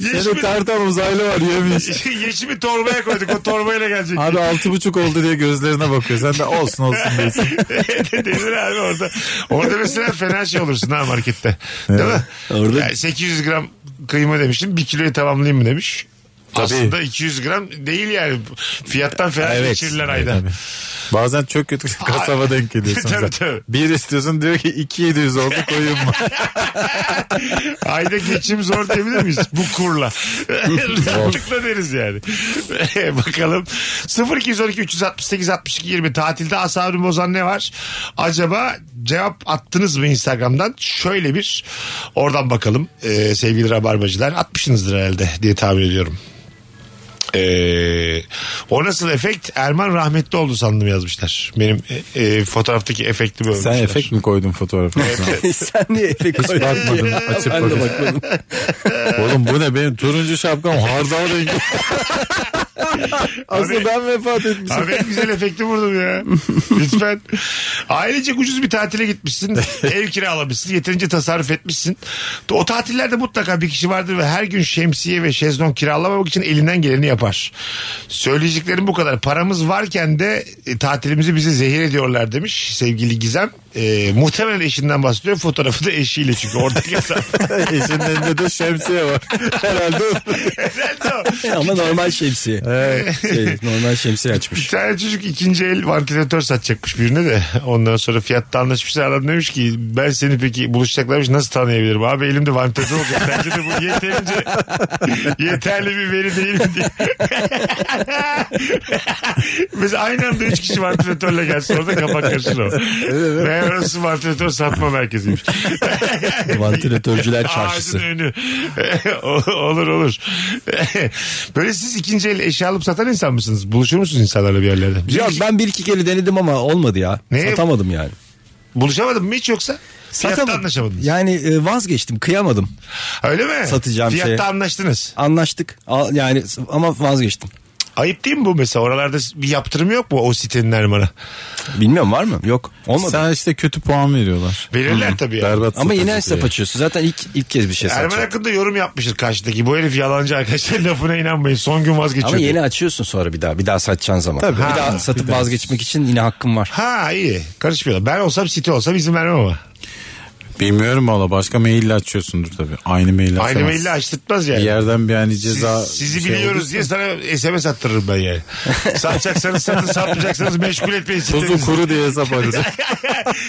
Seni
yeşimi,
tartan uzaylı var yemiş.
(laughs) yeşimi torbaya koyduk. O torbayla gelecek.
Abi 6,5 oldu diye gözlerine bakıyor. Sen de olsun olsun (laughs) diyorsun.
(laughs) Denir abi orada. Orada mesela fena şey olursun ha markette. Değil mi?
Orada-
Yani 800 gram kıyma demiştim. 1 kiloyu tamamlayayım mı demiş. Aslında 200 gram değil yani. Fiyattan fena
Evet.
geçirilen
Evet,
ayda.
tabii. Bazen çok kötü kasaba denk geliyorsun.
(laughs) Tabii,
sen.
tabii.
Bir istiyorsun diyor ki 2700 oldu koyayım mı?
Ayda geçim zor diyebilir miyiz? Bu kurla. Rahatlıkla deriz yani. (laughs) Bakalım. 0212 368 62 20 tatilde asabını bozan ne var? Acaba cevap attınız mı Instagram'dan? Şöyle bir oradan bakalım Ee, sevgili rabarbacılar. Atmışsınızdır herhalde diye tahmin ediyorum. Ee, o nasıl efekt? Erman rahmetli oldu sandım yazmışlar. Benim e, e, fotoğraftaki efekti böyle.
Sen efekt mi koydun fotoğrafına?
Sen niye efekt
Hiç bakmadım. Açıp
Ben de
bakmadım.
bakmadım.
Oğlum bu ne benim turuncu şapkam hardal rengi. Aslında ben vefat etmişim.
Abi en güzel efekti vurdum ya. Lütfen. Ailecek ucuz bir tatile gitmişsin. ev kiralamışsın. Yeterince tasarruf etmişsin. O tatillerde mutlaka bir kişi vardır ve her gün şemsiye ve şezlong kiralamamak için elinden geleni yapar. Söyleyeceklerim bu kadar. Paramız varken de e, tatilimizi bize zehir ediyorlar demiş sevgili Gizem. E, muhtemelen eşinden bahsediyor. Fotoğrafı da eşiyle çünkü oradaki hesap.
Eşinin elinde de şemsiye var. Herhalde.
Herhalde o.
Ama normal şemsiye.
tane.
Şey, normal şemsiye
Bir
açmış.
tane çocuk ikinci el vantilatör satacakmış birine de. (laughs) Ondan sonra fiyatta anlaşmışlar. Adam demiş ki ben seni peki buluşacaklarmış nasıl tanıyabilirim? Abi elimde vantilatör olacak. Bence de bu yeterince (laughs) yeterli bir veri değil (laughs) mi diye. Mesela aynı anda üç kişi vantilatörle gelse orada kapak karışır o. Meğer orası vantilatör satma merkeziymiş. (laughs)
Vantilatörcüler
Ağacın
çarşısı.
önü. O- olur olur. (laughs) Böyle siz ikinci el eşya alıp satan insan mısınız? Buluşur musunuz insanlarla bir yerlerde? Bizim
Yok
iki-
ben bir iki kere denedim ama olmadı ya.
Ne?
Satamadım yani.
Buluşamadın mı hiç yoksa? Fiyatta anlaşamadınız.
Yani e, vazgeçtim kıyamadım.
Öyle mi?
Satacağım şey-
Fiyatta
şeye.
anlaştınız.
Anlaştık Al- yani s- ama vazgeçtim.
Ayıp değil mi bu mesela? Oralarda bir yaptırım yok mu o sitenin Erman'a?
Bilmiyorum var mı? Yok olmadı.
Sen işte kötü puan veriyorlar.
Hmm,
Verirler tabii ya.
Berbat
ama yine
satıcı
hesap
yani.
açıyorsun. Zaten ilk ilk kez bir şey
Erman
satacaksın.
hakkında yorum yapmıştır karşıdaki. Bu herif yalancı arkadaşlar (laughs) lafına inanmayın. Son gün vazgeçiyor.
Ama
diye.
yeni açıyorsun sonra bir daha. Bir daha satacağın zaman.
Tabii.
Bir
Ha,
daha satıp vazgeçmek için yine hakkım var.
Ha iyi. Karışmıyorlar. Ben olsam site olsam izin vermem ama.
Bilmiyorum valla başka maille açıyorsundur tabii. Aynı maille
Aynı
açamazsın.
maille açtırtmaz yani.
Bir yerden bir yani
Siz-
ceza...
sizi
şey
biliyoruz
olursa-
diye sana SMS attırırım ben
(laughs)
yani. Satacaksanız satın, satmayacaksanız meşgul etmeyin.
Tuzu kuru
(laughs)
diye hesap açacak.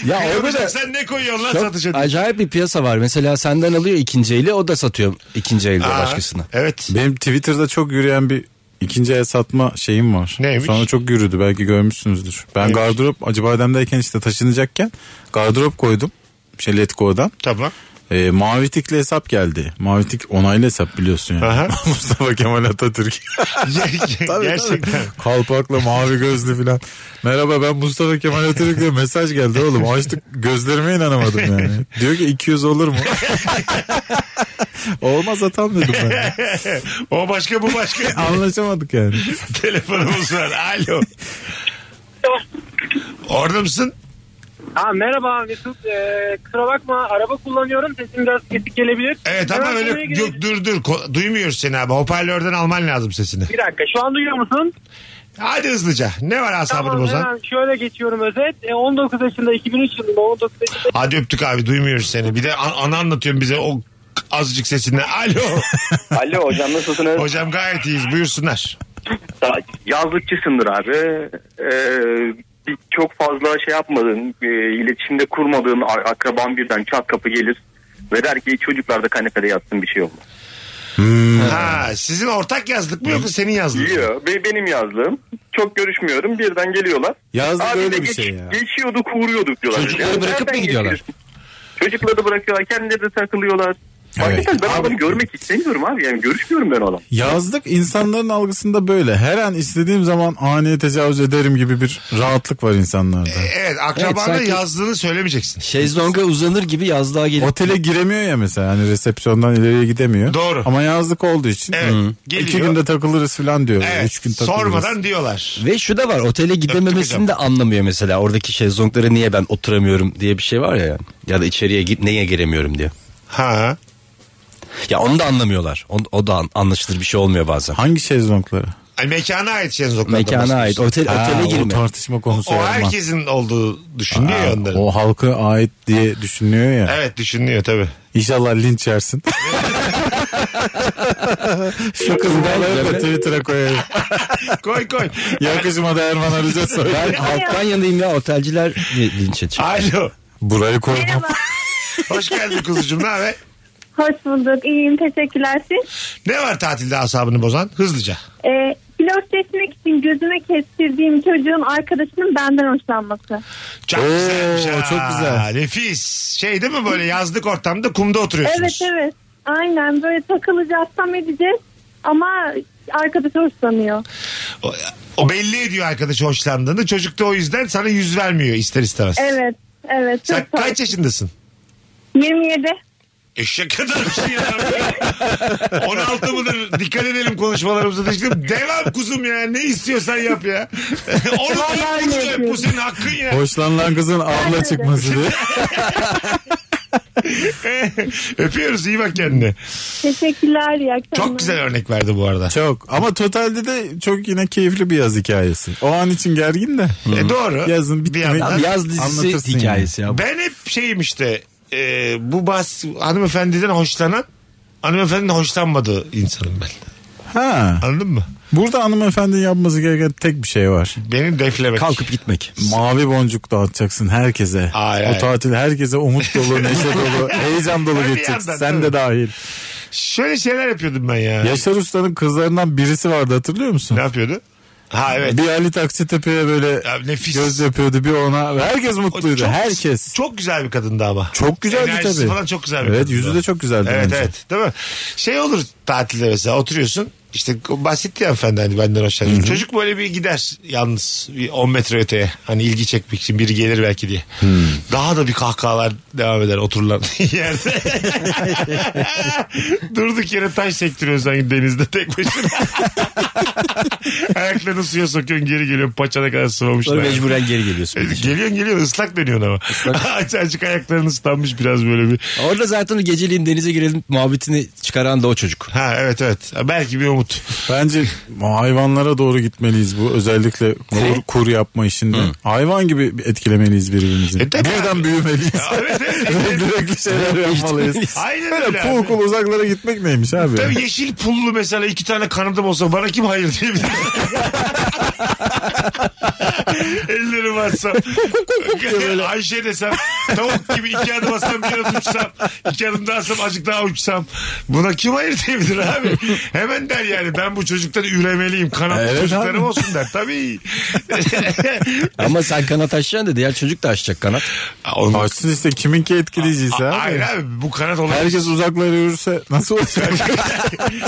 Ya orada da
Yapacaksan ne koyuyorsun lan
çok
satacaksın?
acayip bir piyasa var. Mesela senden alıyor ikinci eli o da satıyor ikinci elde
Aa,
başkasına.
Evet.
Benim Twitter'da çok yürüyen bir ikinci el satma şeyim var.
Neymiş?
Sonra çok yürüdü belki görmüşsünüzdür. Ben
Neymiş?
gardırop Acıbadem'deyken işte taşınacakken gardırop koydum. Şey Letgo'dan. (laughs)
Tamam. (laughs)
Ee, mavi tikli hesap geldi. Mavi tik onaylı hesap biliyorsun
Aha.
yani. (laughs) Mustafa Kemal Atatürk.
(laughs)
Tabii,
Gerçekten.
tabii. Kalpaklı mavi gözlü filan. Merhaba ben Mustafa Kemal Atatürk diye mesaj geldi oğlum. Açtık gözlerime inanamadım yani. Diyor ki 200
(laughs)
olur mu? Olmaz atam dedim ben.
O başka bu
(laughs)
başka.
Anlaşamadık yani.
(laughs) Telefonumuz var. Alo. Orada mısın?
Ha, merhaba Mesut. Ee, kusura bakma araba kullanıyorum. Sesim biraz kesik gelebilir.
Evet ama
Hemen konuya
öyle
girelim.
yok, dur dur Ko- duymuyoruz seni abi hoparlörden alman lazım sesini.
Bir dakika şu an duyuyor musun?
Hadi hızlıca ne var asabını
Tamam
bozan?
hemen şöyle geçiyorum özet. E, 19 yaşında 2003 yılında 19 yaşında
Hadi öptük abi duymuyoruz seni bir de an- anı anlatıyorum bize o azıcık sesinden.
(laughs)
Alo
Alo hocam nasılsınız?
hocam gayet iyiyiz buyursunlar.
Sa- Yazlıkçısındır abi. Ee, bir- çok fazla şey yapmadın, e, iletişimde kurmadığın a- akraban birden çat kapı gelir ve der ki çocuklar da kanepede yatsın bir şey olmaz.
ha, sizin ortak yazlık mı yoksa senin yazlık mı?
Diyor ve benim yazlığım. Çok görüşmüyorum birden geliyorlar.
Yazlık
Abi
öyle
de
bir
geç-
şey ya.
Geçiyorduk uğruyorduk diyorlar.
Çocukları bırakıp mı
nereden
gidiyorlar?
geçiyorsun? Çocukları da bırakıyorlar kendileri de takılıyorlar. Hakikaten ben adamı görmek istemiyorum abi yani görüşmüyorum ben o adam.
Yazlık insanların algısında böyle. Her an istediğim zaman ani tecavüz ederim gibi bir rahatlık var insanlarda.
Evet akrabanın
Evet, sanki-
yazdığını söylemeyeceksin.
Şezlonga uzanır gibi yazlığa gelip.
Otele giremiyor ya mesela hani resepsiyondan ileriye gidemiyor.
Doğru.
Ama yazlık olduğu için
Evet,
Hı.
geliyor.
iki günde takılırız falan diyor.
Evet,
Ee, Üç gün takılırız.
sormadan diyorlar.
Ve şu da var otele
hocam.
gidememesini de anlamıyor mesela. Oradaki şezlonglara niye ben oturamıyorum diye bir şey var ya. Ya da içeriye git neye giremiyorum diye.
Ha.
Ya onu da anlamıyorlar. O, o da an- anlaşılır bir şey olmuyor bazen.
Hangi şezlongları?
Ay, mekana ait şezlonglardan
Mekana ait
bahsediyorsun.
otel,
Ha,
otele
O
girme.
tartışma konusu
şey. O
yapma.
herkesin olduğu düşünüyor
Ha,
ya onların.
o halka ait diye düşünüyor ya.
Evet düşünüyor
(laughs)
tabii.
İnşallah
(laughs)
linç yersin. Şu kızı da Twitter'a koyarım.
koy koy.
Yakışmadı Erman Arıca
Ben
söyle.
halktan yanayım ya otelciler li- linç edecek.
Alo.
Burayı koymam.
Hoş geldin kuzucuğum. Ne haber?
Hoş bulduk. İyiyim. Teşekkürler siz.
Ne var tatilde asabını bozan? Hızlıca.
Ee, flörtleşmek için gözüme kestirdiğim çocuğun arkadaşının benden hoşlanması.
Çok
Oo,
güzelmiş ha.
çok güzel.
Nefis. Şey değil mi böyle yazlık ortamda kumda
Evet
oturuyorsunuz.
evet. Aynen böyle takılacağız tam edeceğiz. Ama arkadaş hoşlanıyor.
O, o belli ediyor arkadaşı hoşlandığını. Çocuk da o yüzden sana yüz vermiyor ister istemez.
Evet. Evet. Çok
Sen kaç yaşındasın?
27.
Eşek adamsın ya. (laughs) 16 mıdır? Dikkat edelim konuşmalarımıza. Teşekkür Devam kuzum ya. Ne istiyorsan yap ya. (laughs) Onu da yap,
Vallahi
bunu da yap.
yapıyorum.
Bu senin hakkın ya.
Hoşlanılan kızın abla çıkması diye.
(laughs) Öpüyoruz. iyi bak kendine.
Teşekkürler. iyi akşamlar.
Çok güzel örnek verdi bu arada. E,
Çok ama totalde de çok yine keyifli bir yaz hikayesi. O an için gergin de.
E, doğru.
Yazın bitti
Bir
mi?
yandan-
Tam yaz dizisi
Anlatırsın
hikayesi ya.
Ben hep şeyim işte. e, bu bahs hanımefendiden hoşlanan hanımefendinin hoşlanmadığı insanım ben.
Ha.
Anladın mı?
Burada hanımefendinin yapması gereken tek bir şey var.
Beni deflemek.
Kalkıp gitmek.
Mavi boncuk dağıtacaksın herkese.
Ay, ay.
O tatil herkese
(laughs)
umut dolu, neşe dolu, heyecan dolu
Bir
geçeceksin.
yandan,
Sen
değil mi?
de dahil.
Şöyle şeyler yapıyordum ben ya.
Yaşar Usta'nın kızlarından birisi vardı hatırlıyor musun?
Ne yapıyordu? Ha evet.
Bir Ali Taksitepe'ye böyle
Ya nefis.
göz yapıyordu bir ona. Herkes
O
mutluydu.
çok-
herkes.
Çok güzel bir kadındı ama.
Çok güzeldi
Enerjisi
tabii.
falan çok güzel bir
Evet
kadındı.
yüzü de çok güzeldi
Evet
bence.
evet değil mi? Şey olur tatilde mesela oturuyorsun işte bahsetti ya hanımefendi hani benden hoşlanıyor. Çocuk böyle bir gider yalnız bir 10 metre öteye hani ilgi çekmek için biri gelir belki diye. Daha da bir kahkahalar devam eder oturulan (laughs)
(laughs)
yerde. Durduk yere taş sektiriyorsun sanki denizde tek
(laughs)
başına. Ayaklarını suya sokuyorsun geri geliyorsun paçana kadar sıvamışlar.
Sonra mecburen geri geliyorsun.
Geliyorsun geliyorsun ıslak dönüyorsun ama. (laughs) Aç açık ayakların ıslanmış biraz böyle bir.
Orada zaten o geceliğin denize girelim muhabbetini çıkaran da o çocuk.
Ha evet evet. Belki bir umut.
Bence hayvanlara doğru gitmeliyiz bu özellikle kur, kur yapma işinde. Hayvan gibi etkilemeliyiz birbirimizi.
E tabii
Buradan
abi.
büyümeliyiz. (laughs)
evet evet.
Renkli şeyler
(laughs)
yapmalıyız.
Aynen öyle.
Böyle
abi.
pul kul uzaklara gitmek neymiş abi?
Tabii yeşil pullu mesela iki tane kanıtım olsa bana kim hayır
(laughs)
diyebilir? Ellerim varsa. (laughs) Ayşe desem tavuk gibi iki adım atsam bir adım uçsam. iki adım daha atsam azıcık daha uçsam. Buna kim hayır diyebilir abi? Hemen der yani ben bu çocuktan üremeliyim. Kanatlı
Evet
çocuklarım
abi.
olsun der. Tabii.
Ama sen kanat açacaksın da diğer çocuk da açacak kanat.
Olmaz.
Açsın işte kiminki etkileyiciyse abi.
Hayır abi bu kanat olayı.
Herkes uzaklara yürürse nasıl olacak?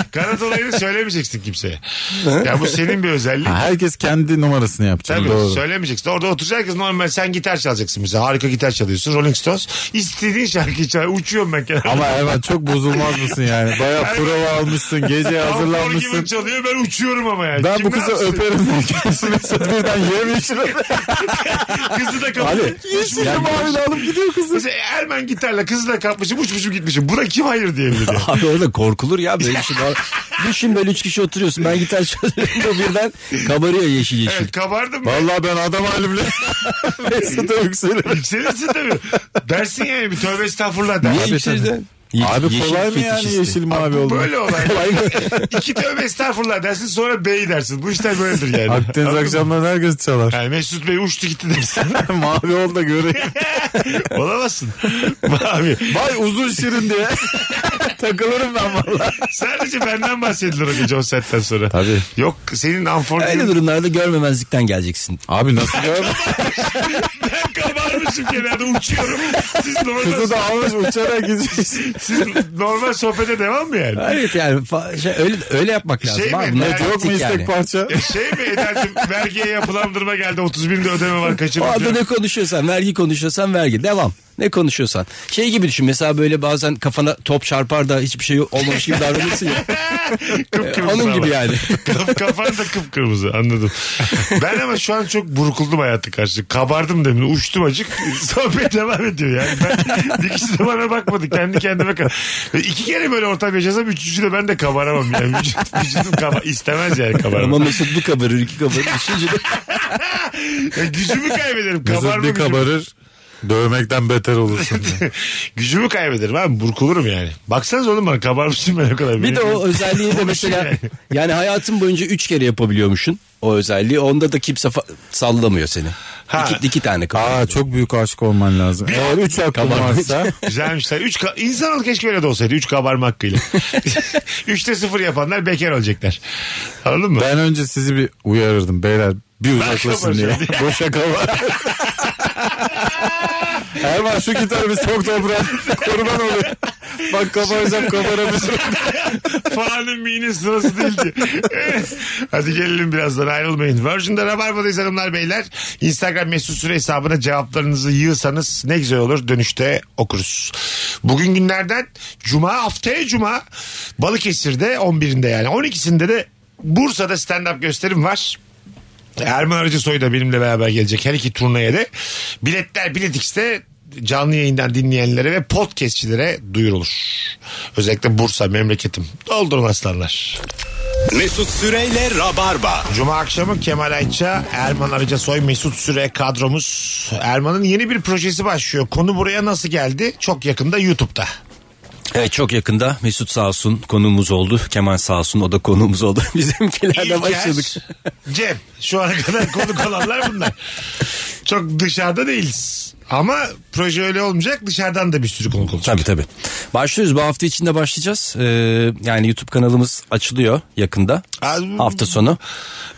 (laughs) kanat olayını söylemeyeceksin kimseye. ya bu senin bir özelliğin.
Ha, Herkes kendi numarasını yapacak.
Tabii
Doğru.
söylemeyeceksin. Orada oturacak herkes normal sen gitar çalacaksın mesela. Harika gitar çalıyorsun. Rolling Stones. İstediğin şarkıyı çal. Uçuyorum ben kenara.
Ama Erman çok bozulmaz mısın yani? Baya prova almışsın, gece
Avrupalı gibi
hazırlanmışsın.
çalıyor ben uçuyorum ama yani.
Ben
Kim
bu
ne
kızı
yapsın?
öperim (laughs) derken Mesut birden yemişim.
(laughs) Kızı da
Ali.
kapmışım.
Yani mavi alıp gidiyor kızı.
Mesela Ermen gitarla kızı da kapmışım uçmuşum gitmişim. Buna kim hayır diyebilir
(laughs)
yani.
Abi orada korkulur ya böyle bir şey. var. Düşün böyle üç kişi oturuyorsun ben gitar çalıyorum da birden kabarıyor yeşil yeşil.
Evet kabardım. ya.
Vallahi ben adam halimle (laughs) Mesut'a yükselirim.
Yükselirsin tabii. Dersin yani bir tövbe estağfurullah
Niye
dersin.
yükseldin?
Abi kolay mı yani yeşil mavi olmak?
Böyle
(laughs)
olay. İki tövbe estağfurullah dersin sonra bey dersin. Bu işler böyledir yani.
Akdeniz
Anladın mı?
akşamları herkes (laughs) çalar.
Yani Mesut Bey uçtu gitti dersin.
mavi ol da göreyim.
(laughs) Olamazsın. Abi
Vay uzun şirin diye. (laughs) Takılırım ben valla.
sadece benden bahsedilir o gece o saatten sonra.
Tabii.
Yok senin
Öyle
amfortun
durumlarda görmemezlikten geleceksin.
Abi nasıl görme? (laughs)
ben kabarmışım kenarda uçuyorum. Siz normal,
Kızı da almış uçarak gideceksin.
siz normal sohbete devam mı
(laughs)
yani?
Evet yani fa- şey, öyle öyle yapmak lazım.
Şey
abi.
mi?
Bunlar
Evet,
Yok mu
taktik
istek
yani.
parça?
Ya şey mi Eder'cim vergiye yapılandırma geldi 30 bin de ödeme var
O
kaçırma
anda
diyorum.
ne konuşuyorsan vergi konuşuyorsan vergi devam. Ne konuşuyorsan. Şey gibi düşün mesela böyle bazen kafana top çarpar da hiçbir şey olmamış gibi
(laughs)
davranırsın ya.
Kıpkırmızı
Onun gibi
ama. (laughs)
yani.
Kaf- Kafan da kıpkırmızı anladım. Ben ama şu an çok burukuldum hayatı karşı. Kabardım demin uçtum acık. Sohbet devam ediyor yani. Ben, bir kişi de bana bakmadı kendi kendime kadar. İki kere böyle ortam yaşasam üçüncü de ben de kabaramam yani. Vücut- vücudum kaba istemez yani
Ama
kabarmam.
Mesut bir kabarır iki kabarır. Düşünce de
Ya gücümü kaybederim. Kabarma
Mesut bir
gücümü.
kabarır. Dövmekten beter (laughs) olursun. diye.
(laughs) gücümü kaybederim abi burkulurum yani. Baksanız oğlum bana kabarmışım ben o kadar.
Bir de o özelliği de mesela
şey yani.
(laughs) yani hayatın boyunca üç kere yapabiliyormuşsun o özelliği. Onda da kimse fa- sallamıyor seni.
Ha.
İki, iki tane kabarır.
Aa çok büyük aşık olman lazım. Eğer 3 hakkın varsa (laughs)
Güzelmişler. Üç ka- İnsanoğlu keşke öyle de olsaydı. Üç kabarma hakkıyla. Üçte sıfır yapanlar bekar olacaklar. Anladın mı?
ben önce sizi bir uyarırdım beyler. Bir uzaklaşın diye.
kabaracağım
Bu şaka var. Erman şu gitarı biz çok toprağa kurban oluyor. Bak kabaracağım kabaramıyorum.
Falanın minin sırası değildi. Evet. Hadi gelelim birazdan ayrılmayın. Virgin'de Rabarba'dayız hanımlar beyler. Instagram mesut süre hesabına cevaplarınızı yığsanız ne güzel olur. Dönüşte okuruz. Bugün günlerden Cuma haftaya Cuma Balıkesir'de 11'inde yani 12'sinde de Bursa'da stand-up gösterim var. Erman Arıcısoy da benimle beraber gelecek her iki turneye de. Biletler Bilet X'te canlı yayından dinleyenlere ve podcastçilere duyurulur. Özellikle Bursa memleketim. Doldurun aslanlar.
Mesut Süreyle Rabarba.
Cuma akşamı Kemal Ayça, Erman Arıca Soy, Mesut Süre kadromuz. Erman'ın yeni bir projesi başlıyor. Konu buraya nasıl geldi? Çok yakında YouTube'da.
Evet çok yakında Mesut sağ olsun konuğumuz oldu. Kemal sağ olsun o da konuğumuz oldu. (laughs) Bizimkilerle başladık.
İlker, (laughs) Cem. Şu ana kadar konuk olanlar bunlar. Çok dışarıda değiliz. Ama proje öyle olmayacak. Dışarıdan da bir sürü konuk olacak.
Tabii tabii. Başlıyoruz bu hafta içinde başlayacağız. Ee, yani YouTube kanalımız açılıyor yakında.
Az-
Hafta sonu.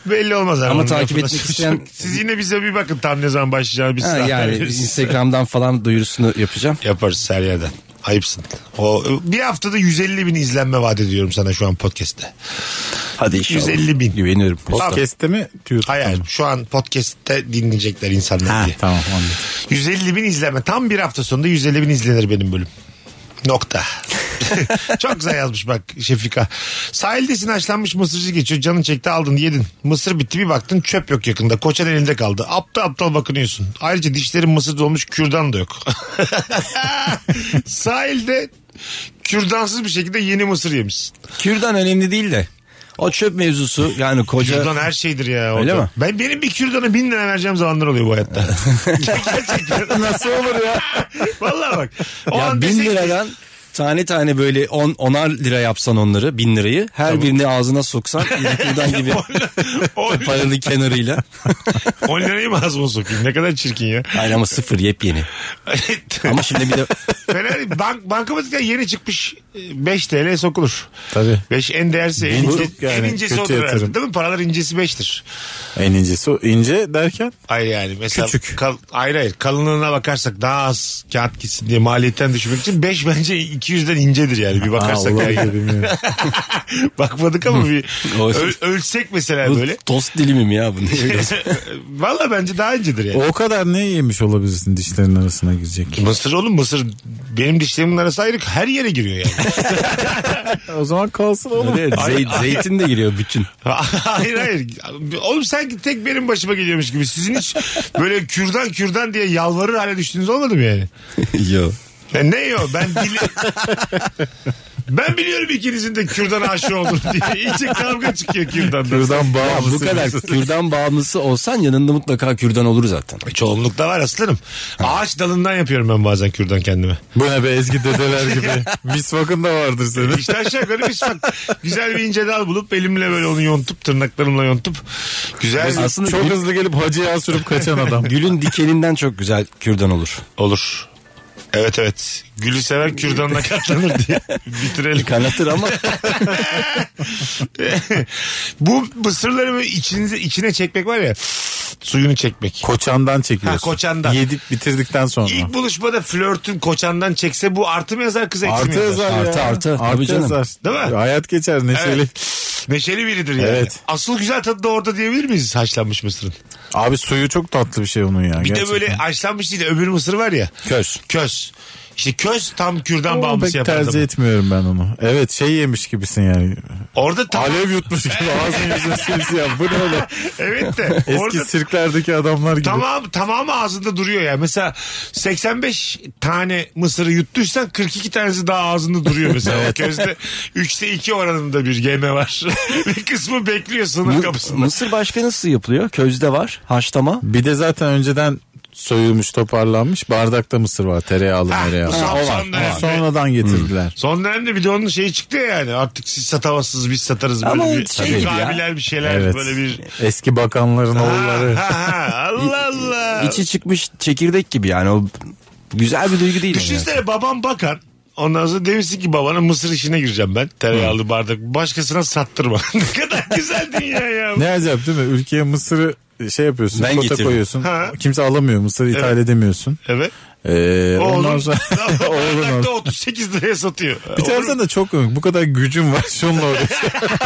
Belli olmaz. abi.
Ama
Onun
takip
lafına-
etmek isteyen-
Siz yine bize bir bakın tam ne zaman başlayacağını biz
Ha,
size haber
yani
veririz.
Instagram'dan falan duyurusunu yapacağım.
(laughs) Yaparız her yerden. Ayıpsın. O, bir haftada 150 bin izlenme vaat ediyorum sana şu an podcast'te.
Hadi inşallah.
150 bin.
Güveniyorum.
Podcast'te mi diyorsun?
Hayır şu an podcast'te dinleyecekler insanlar
Ha,
diye.
tamam anladım.
150 bin izlenme. Tam bir hafta sonunda 150 bin izlenir benim bölüm. Nokta. (laughs) Çok güzel yazmış bak Şefika. Sahildesin haşlanmış mısırcı geçiyor. Canın çekti aldın yedin. Mısır bitti bir baktın çöp yok yakında. Koçan elinde kaldı. Aptal aptal bakınıyorsun. Ayrıca dişlerin mısır dolmuş kürdan da yok. (laughs) Sahilde kürdansız bir şekilde yeni mısır yemişsin.
Kürdan önemli değil de. O çöp mevzusu yani koca...
Kürdan her şeydir ya.
Öyle
orada.
mi?
Ben, benim bir kürdana bin lira vereceğim zamanlar oluyor bu hayatta.
(laughs)
Gerçekten.
Nasıl
(laughs)
olur ya?
Vallahi bak. O
ya
an
bin
desek (laughs) ki-
liradan tane tane böyle on, onar lira yapsan onları bin lirayı her birini
(laughs)
ağzına soksan yine kürdan gibi
On-
paralı kenarıyla.
10 lirayı mı ağzıma sokayım? Ne kadar çirkin
(laughs)
ya.
Aynen ama sıfır yepyeni. Ama şimdi bir de
Fena değil. Bank, bankamatikten yeni çıkmış e, 5 TL sokulur.
Tabii.
5 en değerse en,
Bin
ince,
çok yani,
en incesi
kötü
odur herhalde,
yatırım.
Değil mi? Paralar incesi 5'tir.
En incesi o. ince derken
Hayır yani mesela
Küçük.
Kal, hayır hayır kalınlığına bakarsak daha az kağıt gitsin diye maliyetten düşürmek için 5 bence 200'den incedir yani bir bakarsak.
olabilir,
yani. (laughs)
bilmiyorum.
Bakmadık ama
(laughs)
bir
O-
öl- ölçsek mesela (laughs)
bu
böyle. (laughs)
tost dilimim ya bu. ne?
Valla bence daha incedir yani.
o kadar ne yemiş olabilirsin dişlerin arasına girecek.
Mısır oğlum mısır benim dişlerimin arası ayrı her yere giriyor yani.
O zaman kalsın oğlum.
Evet, zey- zeytin de giriyor bütün.
(laughs) hayır hayır. Oğlum sanki tek benim başıma geliyormuş gibi. Sizin hiç böyle kürdan kürdan diye yalvarır hale düştüğünüz olmadı mı yani?
(laughs) Yo.
Ya ne yo ben dili... Ben biliyorum ikinizin de kürdan aşığı olduğunu diye. İyice kavga çıkıyor kürdandan.
Kürdan
Ya
bağımlısı.
bu kadar kürdan bağımlısı olsan yanında mutlaka kürdan olur zaten.
Çoğunlukta var aslanım. Ağaç dalından yapıyorum ben bazen kürdan kendime.
Bu ne be ezgi dedeler gibi. Misvakın da vardır senin.
İşte aşağı yukarı bir smak. Güzel bir ince dal bulup elimle böyle onu yontup tırnaklarımla yontup. Güzel bir...
Aslında
Çok
gül-
hızlı gelip hacıya sürüp kaçan
(laughs)
adam.
gülün dikeninden çok güzel kürdan olur.
Olur. Evet evet. Gülü sever kürdanına katlanır diye. Bitirelim.
Kanatır (laughs) ama
(laughs) Bu mısırları böyle içinize, içine çekmek var ya. Suyunu çekmek.
Koçandan çekiyorsun.
Ha, koçandan.
Yedik bitirdikten sonra.
İlk buluşmada flörtün koçandan çekse bu artı mı yazar kız eksi mi
Artı
yazar?
yazar ya.
Artı, artı.
Artı
Tabii canım.
yazar.
Değil mi?
Hayat geçer neşeli.
Neşeli biridir yani.
Evet.
Asıl güzel tadı da orada diyebilir miyiz haşlanmış mısırın?
Abi suyu çok tatlı bir şey onun ya.
Bir de böyle haşlanmış değil de öbür mısır var ya.
köz.
Köz. İşte köz tam kürdan
pek
bağımlısı yapar
tercih
adamı.
etmiyorum ben onu. Evet şey yemiş gibisin yani.
Orada tam...
Alev yutmuş gibi ağzını yüzünü simsiyah. Bu ne oğlum?
(laughs) Evet de.
(laughs) Eski
orada
sirklerdeki adamlar gibi.
Tamam tamamı ağzında duruyor ya. Mesela 85 tane mısırı yuttuysan 42 tanesi daha ağzında duruyor mesela. O közde 3'te 2 oranında bir geme var. (laughs) bir kısmı bekliyor sınır kapısında.
Mısır başka nasıl yapılıyor? Közde var, haşlama.
Bir de zaten önceden soyulmuş toparlanmış bardakta mısır var tereyağlı
Ha,
mereyağlı.
bu Hmm. son-
o var.
son dönemde.
O Sonradan getirdiler.
Son dönemde bir de onun şeyi çıktı ya yani artık siz satamazsınız biz satarız böyle
Ama
bir
şey gibi ya.
mukabiler bir şeyler
Evet.
böyle bir
Eski bakanların oğulları.
ha, ha, ha. Allah Allah.
İçi çıkmış çekirdek gibi yani o güzel bir duygu değil. mi
şey
yani?
Düşünsene babam bakan. Ondan sonra demişsin ki babana mısır işine gireceğim ben. Tereyağlı bardak. Başkasına sattırma. (laughs) ne kadar güzel dünya ya.
Ne acayip değil mi? Ülkeye mısırı şey yapıyorsun.
Ben
Ben
getirdim.
koyuyorsun.
Ha.
Kimse alamıyor mısır ithal edemiyorsun.
Evet.
Ee, ondan
Oğlum (laughs)
sonra (laughs) oğlun
bardakta
orada.
38 liraya satıyor.
Bir taraftan da çok komik. Bu kadar gücüm var (laughs) şunla uğraşıyorum.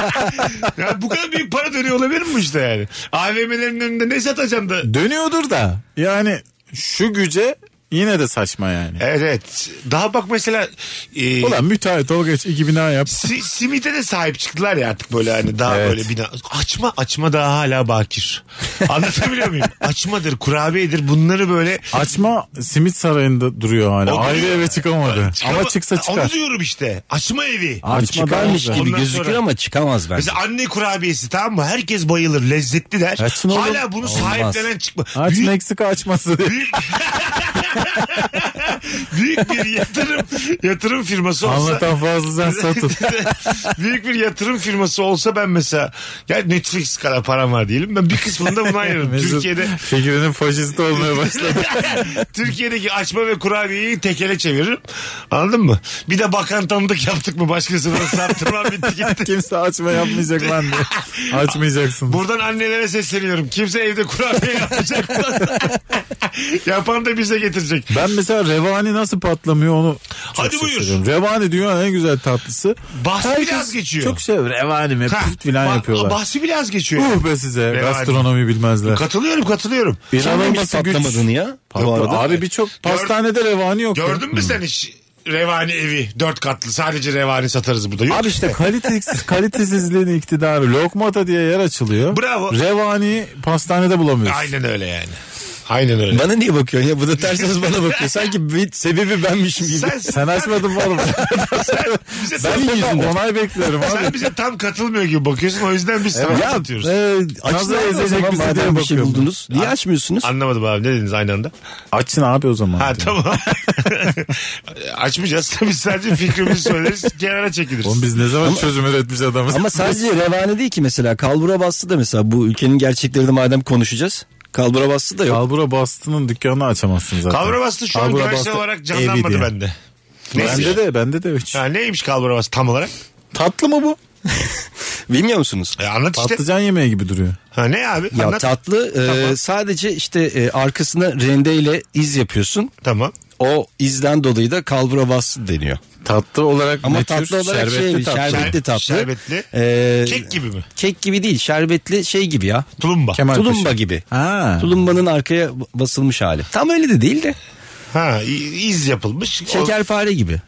Ya bu kadar büyük para dönüyor olabilir mi işte yani? AVM'lerin önünde ne satacaksın da?
Dönüyordur da. Yani şu güce yine de saçma yani.
Evet. Daha bak mesela e,
Ulan müteahhit ol geç iki bina yap.
si- simite de sahip çıktılar ya artık böyle hani daha
Evet.
böyle bina. Açma açma daha hala bakir. Anlatabiliyor
(laughs)
muyum? Açmadır, kurabiyedir bunları böyle
Açma simit sarayında duruyor hala.
O
Ayrı
duruyor.
eve çıkamadı. Ama çıksa
Onu
çıkar.
diyorum işte. Açma evi.
Abi
Açma
çıkarmış
daha
gibi
güzel.
Ondan
gözükür
sonra-
ama çıkamaz bence.
Mesela anne kurabiyesi tamam mı? Herkes bayılır. Lezzetli der.
Açın oğlum.
Hala bunu
Olmaz.
sahiplenen çıkma.
Aç
Büyük-
Meksika açması diye.
büyük- büyük
(laughs)
bir yatırım yatırım firması olsa
Anlatan fazladan satın.
büyük bir yatırım firması olsa ben mesela ya Netflix kadar param var diyelim ben bir kısmını da
(laughs)
buna ayırırım.
Mesut
(laughs) Türkiye'de
Fikrinin faşisti
(laughs)
olmaya başladı.
Türkiye'deki açma ve kurabiyeyi tekele çeviririm. Anladın mı? Bir de bakan tanıdık yaptık mı başkasına da saptırmam bitti gitti.
(laughs) Kimse açma yapmayacak lan diye. Açmayacaksın.
Buradan annelere sesleniyorum. Kimse evde
(laughs)
kurabiye yapmayacak. (laughs) Yapan da bize getirecek.
Ben mesela revani nasıl patlamıyor onu çok
Hadi buyur.
şaşırıyorum. Revani dünyanın en güzel tatlısı.
Bahsi
Herkes
biraz geçiyor.
Çok seviyor. Revani mi?
Ha,
Püt filan
bah-
yapıyorlar.
Bahsi biraz geçiyor.
Uh be size
Revani.
gastronomi bilmezler.
Katılıyorum katılıyorum.
İnanılmaz güç.
patlamadığını ya. Bu
Yok,
arada.
abi birçok pastanede revani yok. ya.
Gördün mü sen hiç revani evi? Dört katlı sadece revani satarız burada. Yok
Abi
(laughs)
işte kalitesiz, kalitesizliğin iktidarı lokmata diye yer açılıyor.
Bravo.
Revani pastanede bulamıyorsun.
Aynen öyle yani. Aynen öyle.
Bana niye bakıyorsun
(laughs)
ya? Bu da tersiniz bana bakıyor. Sanki bir sebebi benmişim gibi.
Sen-
Sen
(laughs)
açmadın mı oğlum?
Bize
ben
tam-
bundan onay bekliyorum
sen
abi.
bize tam katılmıyor gibi bakıyorsun o yüzden biz sana
Ya
katılıyoruz.
e, açın
Nasıl
abi o
ezecek
zaman
bizi diye
madem bir şey
bakıyorum.
buldunuz. Niye açmıyorsunuz?
Anlamadım abi ne dediniz aynı anda?
Açın abi o zaman.
Ha tamam. (laughs) Açmayacağız. Biz sadece fikrimizi söyleriz. Kenara çekiliriz.
Oğlum biz ne zaman çözüm üretmiş adamız.
Ama sadece revane değil ki mesela. Kalbura bastı da mesela bu ülkenin gerçeklerini madem konuşacağız. Kalbura bastı da yok.
Kalbura Bastı'nın dükkanını açamazsın zaten.
Kalbura bastı şu an
Kalbura
görsel
Bastı
olarak
evi
canlanmadı
diye.
bende. Neyse.
Bende de bende de hiç.
Ha, neymiş kalbura bastı tam olarak?
Tatlı mı bu?
Bilmiyor musunuz?
E, anlat işte.
Patlıcan yemeği gibi duruyor.
Ha, ne abi?
Ya
anlat.
tatlı e, sadece işte e, arkasına rendeyle iz yapıyorsun.
tamam.
O izden dolayı da kalbura bastı deniyor.
Tatlı olarak
Ama
ne tür?
tatlı olarak
Şerbetli
şey,
tatlı.
şerbetli tatlı.
Şerbetli.
E,
Kek gibi mi?
Kek gibi değil şerbetli şey gibi ya.
Tulumba.
Kemal
tulumba
Paşa.
gibi.
Ha.
Tulumbanın arkaya basılmış hali. Tam öyle de değil de.
Ha i- iz yapılmış. O-
Şekerpare gibi.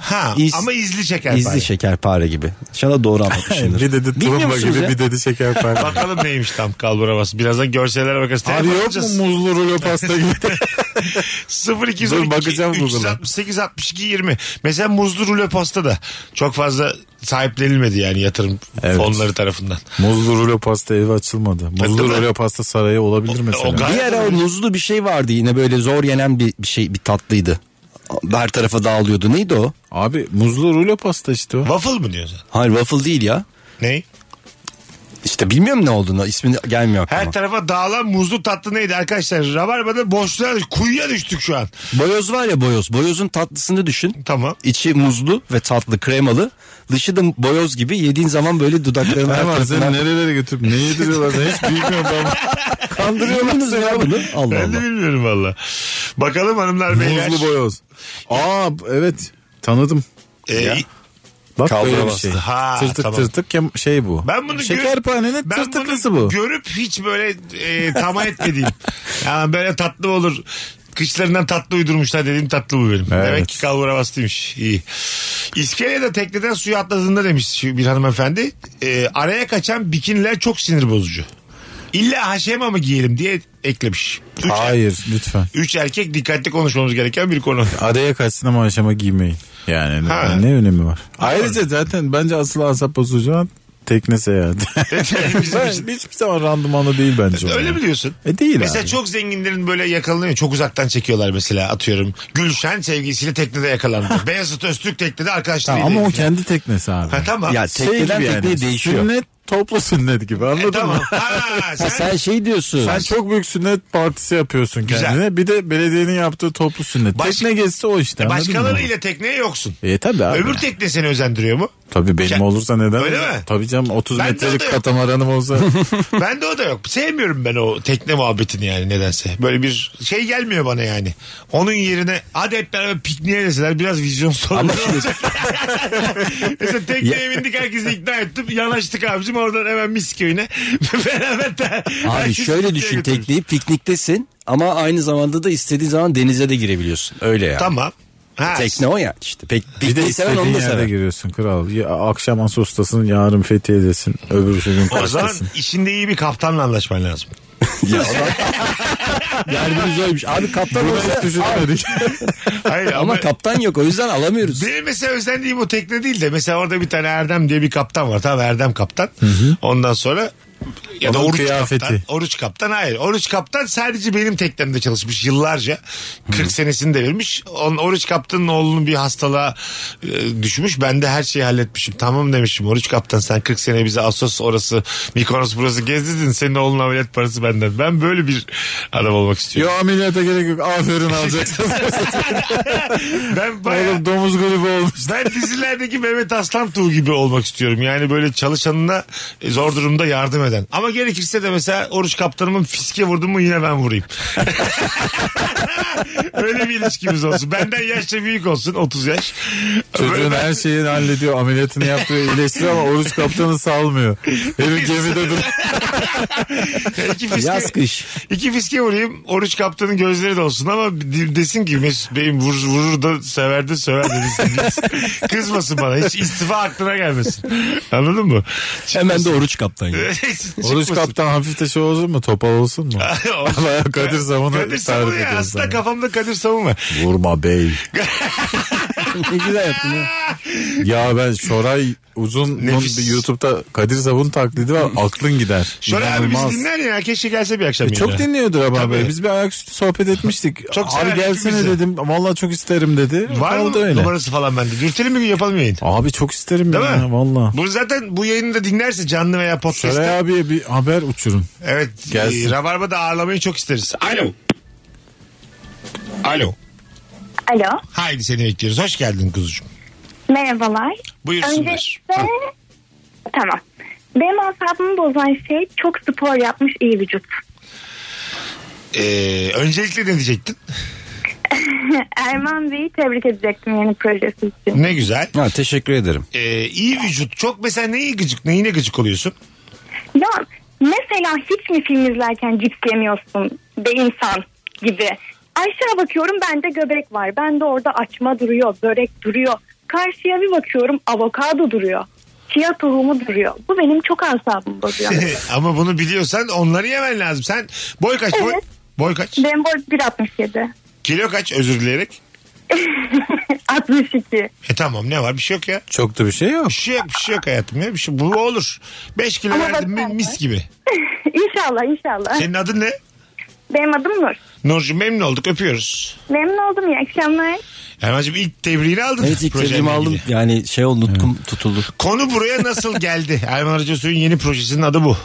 ha
iz-
ama izli şeker.
İzli şekerpare gibi. İnşallah
(laughs)
doğru anlatmışımdır.
Bir dedi
Bilmiyor
tulumba
musunuz
gibi
ya?
bir
(laughs)
dedi şekerpare. (laughs)
Bakalım neymiş tam kalbura bastı. Birazdan görsellere bakarız.
Abi
Telefon
yok mu
alacağız.
muzlu rulo pasta gibi?
0212
Dur bakacağım Google'a.
368 62 20. Mesela muzlu rulo pasta da çok fazla sahiplenilmedi yani yatırım
Evet.
fonları tarafından.
(laughs) muzlu rulo pasta evi açılmadı. Muzlu
Tabii.
rulo pasta sarayı olabilir mesela.
o gayet-
Bir ara o muzlu bir şey vardı yine böyle zor yenen bir, bir şey bir tatlıydı. Her tarafa dağılıyordu. Neydi o?
Abi muzlu rulo pasta işte o.
Waffle mı diyorsun?
Hayır waffle değil ya.
Ney?
İşte bilmiyorum ne olduğunu. ismini gelmiyor
Her
aklıma.
tarafa dağılan muzlu tatlı neydi arkadaşlar? Rabarba'da boşluğa düş- kuyuya düştük şu an.
Boyoz var ya boyoz. Boyozun tatlısını düşün.
Tamam.
İçi muzlu ve tatlı kremalı. Dışı da boyoz gibi yediğin zaman böyle dudakların
(laughs)
her
Hemen seni
tarafından...
nerelere götürüp ne yediriyorlar ben hiç bilmiyorum
(laughs)
ben.
Kandırıyorsunuz ya bunu. Allah
Ben de
Allah.
bilmiyorum valla. Bakalım hanımlar beyler.
Muzlu boyoz. Aa evet tanıdım.
Ee,
Bak
Kalbura
böyle bir
bastı.
şey.
Ha,
tırtık
tamam.
tırtık kem- şey bu.
Ben bunu gör-
Şekerpanenin
ben
tırtıklısı
bunu
bu.
Görüp hiç böyle e, tamam
(laughs)
etmediğim. yani böyle tatlı olur. Kışlarından tatlı uydurmuşlar dediğim tatlı bu benim.
Evet.
Demek ki kalbura bastıymış. İyi. İskelede tekneden suya atladığında demiş şu bir hanımefendi. e, araya kaçan bikiniler çok sinir bozucu. İlla haşema mı giyelim diye eklemiş. Üç,
Hayır lütfen.
üç erkek dikkatli konuşmamız gereken bir konu.
Araya kaçsın ama aşama giymeyin. Yani
Ha.
ne önemi var? Ayrıca zaten bence asıl asap bozucu olan tekne seyahati.
Bizim için.
(laughs) ben, hiçbir zaman randımanlı değil bence. o.
Öyle mi diyorsun?
E değil
Mesela
abi.
çok zenginlerin böyle yakalanıyor. Çok uzaktan çekiyorlar mesela atıyorum. Gülşen sevgilisiyle teknede
(laughs)
yakalandı. Beyazıt Öztürk teknede arkadaşlarıyla.
Tamam, ama o
ilgili.
kendi teknesi abi.
Ha, tamam. E,
Ya
Şey
tekneden
gibi
tekneye değişiyor.
Sünnet toplu sünnet gibi anladın
E, tamam.
mı?
Ha, sen,
Ha, sen şey diyorsun.
Sen çok büyük sünnet partisi yapıyorsun
Güzel.
kendine. Bir de belediyenin yaptığı toplu sünnet.
Baş-
Tekne gezisi o işte. anladın mı?
başkalarıyla tekneye yoksun.
E tabi abi.
Öbür tekne seni özendiriyor mu?
Tabii benim
Ya-
olursa neden?
Öyle
olmaz?
mi?
Tabii canım 30
Bende o da
metrelik
yok.
katamaranım
(laughs)
olsa.
ben de o da yok. Sevmiyorum ben o tekne muhabbetini yani nedense. Böyle bir şey gelmiyor bana yani. Onun yerine hadi hep beraber pikniğe deseler biraz vizyon sorunu olacak. (laughs) Mesela tekneye bindik herkesi ikna ettim. Yanaştık abicim oradan hemen mis köyüne. (laughs) beraber de
Abi
herkesi
şöyle
pikniğe
düşün
götürürüz.
tekneyi pikniktesin ama aynı zamanda da istediğin zaman denize de girebiliyorsun. Öyle ya.
Tamam. Ha,
Tekne o ya işte. Pek,
bir de
pikniği seven onu
istediğin
da
yerde
sever.
giriyorsun kral. Ya, akşam Asus'tasın yarın Fethiye'desin. Öbür şey gün
O zaman
Kaş'tasın.
işinde iyi bir kaptanla anlaşman lazım.
Ya (laughs) adam- Yardımcı oymuş. şey. Abi kaptan
Bunu
olsa
hiç düşünmedik.
Hayır ama,
ama kaptan yok o yüzden alamıyoruz.
Benim mesela özendiğim o tekne değil de mesela orada bir tane Erdem diye bir kaptan var. Tamam Erdem kaptan. Ondan sonra Ya da
Onun
Oruç
kıyafeti.
Kaptan. Oruç Kaptan hayır. Oruç Kaptan sadece benim teknemde çalışmış yıllarca. 40 senesini de vermiş. On, Oruç Kaptan'ın oğlunun bir hastalığa e, düşmüş. Ben de her şeyi halletmişim. Tamam demişim. Oruç Kaptan sen 40 sene bize Asos orası Mikonos burası gezdirdin. Senin oğlunun ameliyat parası benden. Ben böyle bir adam olmak
(laughs) Yo
istiyorum.
ameliyata gerek yok.
(laughs)
Aferin alacaksın.
Ben bayağı...
Oğlum domuz gribi olmuş.
Ben dizilerdeki Mehmet Aslan Tuğ gibi olmak istiyorum. Yani böyle çalışanına e, zor durumda yardım eden. Ama gerekirse de mesela Oruç Kaptanımın fiske vurdu mu yine ben vurayım. (laughs) Öyle bir ilişkimiz olsun. Benden yaşça büyük olsun 30 yaş. (laughs)
Çocuğun her şeyini hallediyor. Ameliyatını yaptırıyor. iyileştiriyor ama oruç kaptanı salmıyor. Herif gemide dur.
iki, fiske,
Yaz kış.
iki fiske vurayım Oruç Kaptan'ın gözleri de olsun ama de- desin ki Mesut Bey'im vurur, vurur da sever de söver de desin. (laughs) Kızmasın bana. Hiç istifa aklına gelmesin. Anladın mı?
Hemen de oruç kaptan. ya.
(laughs)
Oruç
Çıkmasın.
kaptan hafif de şey olsun mu? Topal olsun mu? Bayağı Kadir Saman'ı
Ah. Kadir Saman
tarif
ya,
ediyoruz
aslında
sana.
kafamda Kadir Saman var.
Vurma bey.
ne güzel yaptın ya.
Ya ben Şoray Uzun
Nefis.
bir YouTube'da Kadir Savun taklidi var. Aklın gider.
Şöyle abi bizi
İnanılmaz.
dinler ya. Keşke gelse bir akşam.
E, çok
yayına.
dinliyordur ama
Tabii.
Bey. Biz bir ayaküstü sohbet
(laughs)
etmiştik.
Çok sever
Abi gelsene
ikimiz de.
dedim. Vallahi çok isterim dedi.
Var mı
Kaldı öyle.
numarası falan bende? Dürtelim bir gün yapalım yayın.
Abi çok isterim
Değil
ya.
mi?
Vallahi.
Bu zaten bu yayını da dinlerse canlı veya podcast'te.
Şoray abiye bir haber uçurun.
Evet.
Gelsin.
E, Rabarba'da ağırlamayı çok isteriz. Alo. Alo.
Alo.
Haydi seni bekliyoruz. Hoş geldin kuzucuğum.
Merhabalar.
Buyursunlar.
Öncelikle tamam. Benim asabımı bozan şey çok spor yapmış iyi vücut. (laughs)
Ee, öncelikle ne diyecektin?
Erman Bey'i tebrik edecektim yeni projesi için.
Ne güzel.
Ha, teşekkür ederim.
Ee, iyi vücut. Çok mesela neyi gıcık, neyine gıcık oluyorsun? (laughs)
Ya mesela hiç mi film izlerken cips yemiyorsun be insan gibi. Aşağı bakıyorum bende göbek var. Bende orada açma duruyor, börek duruyor. Karşıya bir bakıyorum avokado duruyor. Chia tohumu duruyor. Bu benim çok
(laughs)
asabımı bozuyor.
Ama bunu biliyorsan onları yemen lazım. Sen boy kaç? Boy,
Evet.
boy kaç?
Benim boy (laughs) 1.67.
Kilo kaç özür dileyerek?
62.
E tamam ne var bir şey yok ya.
Çok da bir şey yok.
Bir şey yok, bir şey yok hayatım ya. Bir şey, bu olur. 5 kilo
Ama
verdim mi
bakarsan.
mis gibi.
inşallah inşallah.
Senin adın ne?
Benim adım Nur.
Nurcuğum memnun olduk öpüyoruz.
Memnun oldum iyi akşamlar.
Erman'cığım ilk tebriğini aldın.
Evet ilk
projenle
tebrimi aldım.
ilgili.
Yani şey oldu nutkum tutuldu.
Konu buraya
(laughs)
nasıl geldi? Erman Arıca Soy'un yeni projesinin adı bu.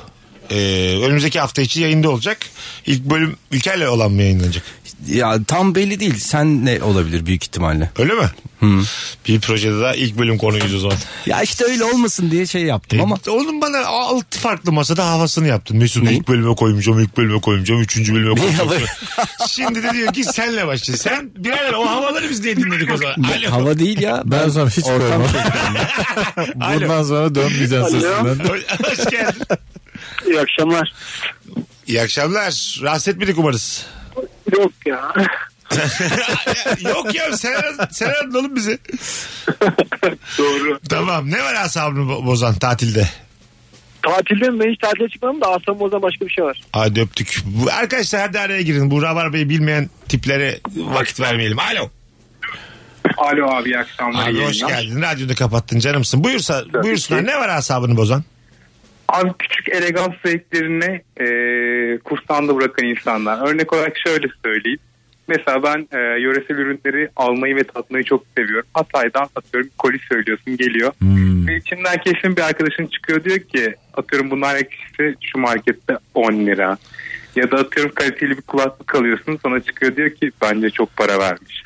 Ee, önümüzdeki hafta içi yayında olacak. İlk bölüm ülkeyle olan mı yayınlanacak?
Ya tam belli değil. Sen ne olabilir büyük ihtimalle.
Öyle mi?
Hmm.
Bir projede daha ilk bölüm konuyuz o zaman.
Ya işte öyle olmasın diye şey yaptım ama.
E, Onun bana altı farklı masada havasını yaptın. Mesut'u ilk bölüme koymayacağım, ilk bölüme koymayacağım, üçüncü bölüme koymayacağım. (laughs) Şimdi de diyor ki senle başla. Sen birader o havaları biz niye dinledik o zaman? Alo.
Hava değil (laughs) ya.
Ben, sonra hiç
ortam
koymam. Bundan sonra dönmeyeceğim sesinden.
Hoş geldin.
İyi akşamlar.
İyi akşamlar. Rahatsız etmedik umarız.
Yok ya.
(laughs) Yok ya sen, sen aradın oğlum bizi.
Doğru.
Tamam ne var asabını bo- bozan tatilde?
Tatilde mi? Ben hiç tatile çıkmadım da asabım bozan başka bir şey var.
Hadi öptük. Bu, arkadaşlar hadi araya girin. Bu Rabarba'yı bilmeyen tiplere vakit vermeyelim. Alo.
Alo abi iyi akşamlar.
Abi
iyi
hoş
yayınlar.
geldin. Radyonu kapattın canımsın. Buyursa, buyursunlar. Ne var asabını bozan?
Abi küçük elegans zevklerini e, kursanda bırakan insanlar. Örnek olarak şöyle söyleyeyim. Mesela ben e, yöresel ürünleri almayı ve tatmayı çok seviyorum. Hatay'dan atıyorum koli söylüyorsun geliyor. Ve içinden kesin bir arkadaşın çıkıyor diyor ki atıyorum bunlar ikisi şu markette 10 lira. Ya da atıyorum kaliteli bir kulaklık alıyorsun sana çıkıyor diyor ki bence çok para vermiş.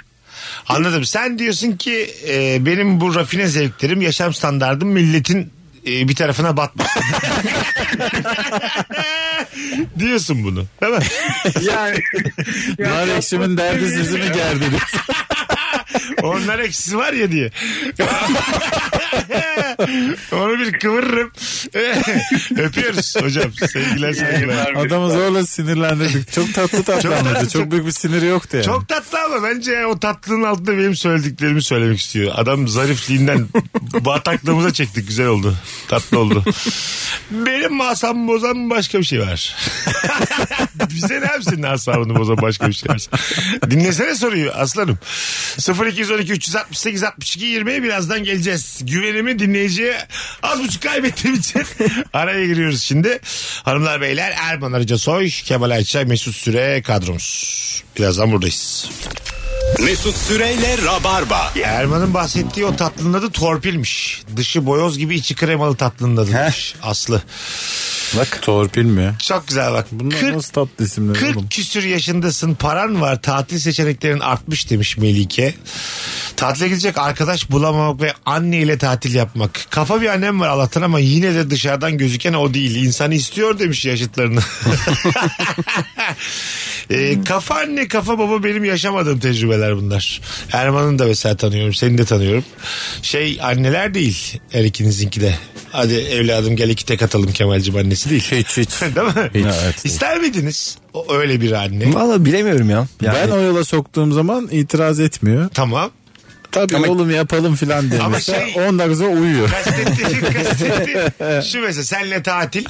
Anladım. Sen diyorsun ki e, benim bu rafine zevklerim, yaşam standardım milletin e, bir tarafına batma. (laughs) diyorsun bunu. Değil mi?
Yani,
Nar ekşimin derdi zizimi gerdi.
Onlar eksisi var ya diye. (laughs) Onu bir kıvırırım. (laughs) Öpüyoruz hocam. Sevgiler sevgiler.
Adamı zorla sinirlendirdik. Çok tatlı tatlı anladı. Çok büyük bir siniri yoktu yani.
Çok tatlı ama bence o tatlının altında benim söylediklerimi söylemek istiyor. Adam zarifliğinden (laughs) bataklığımıza çektik. Güzel oldu. Tatlı oldu. Benim asabımı bozan başka bir şey var. (laughs) Bize ne yapsın asabını bozan başka bir şey var. Dinlesene soruyu aslanım. 0212 0212 368 62 20 birazdan geleceğiz. Güvenimi dinleyiciye az buçuk kaybettiğim için (laughs) araya giriyoruz şimdi. Hanımlar beyler Erman Arıca Soy, Kemal Ayça, Mesut Süre kadromuz. Birazdan buradayız.
Mesut Süreyle Rabarba.
Ya Erman'ın bahsettiği o tatlının adı torpilmiş. Dışı boyoz gibi içi kremalı tatlının adıymış. Aslı.
Bak. Torpil mi?
Çok güzel bak.
Bunlar
40
nasıl tatlı isimler
40
oğlum?
küsür yaşındasın paran var tatil seçeneklerin artmış demiş Melike. Tatile gidecek arkadaş bulamamak ve anne ile tatil yapmak. Kafa bir annem var Allah'tan ama yine de dışarıdan gözüken o değil. İnsanı istiyor demiş yaşıtlarını. (laughs) Ee, kafa anne kafa baba benim yaşamadığım tecrübeler bunlar. Erman'ın da mesela tanıyorum seni de tanıyorum. Şey anneler değil her ikinizinki de. Hadi evladım gel iki tek atalım Kemal'cim annesi değil.
Hiç hiç.
Değil mi?
Evet.
İster miydiniz o, öyle bir anne?
Valla bilemiyorum ya. Yani,
Ben o yola soktuğum zaman itiraz etmiyor.
Tamam.
Tabii oğlum yapalım filan diye.
Ama
Mesela
şey-
10 dakika sonra uyuyor.
(laughs) Kastetti, kastetti. Şu mesela senle tatil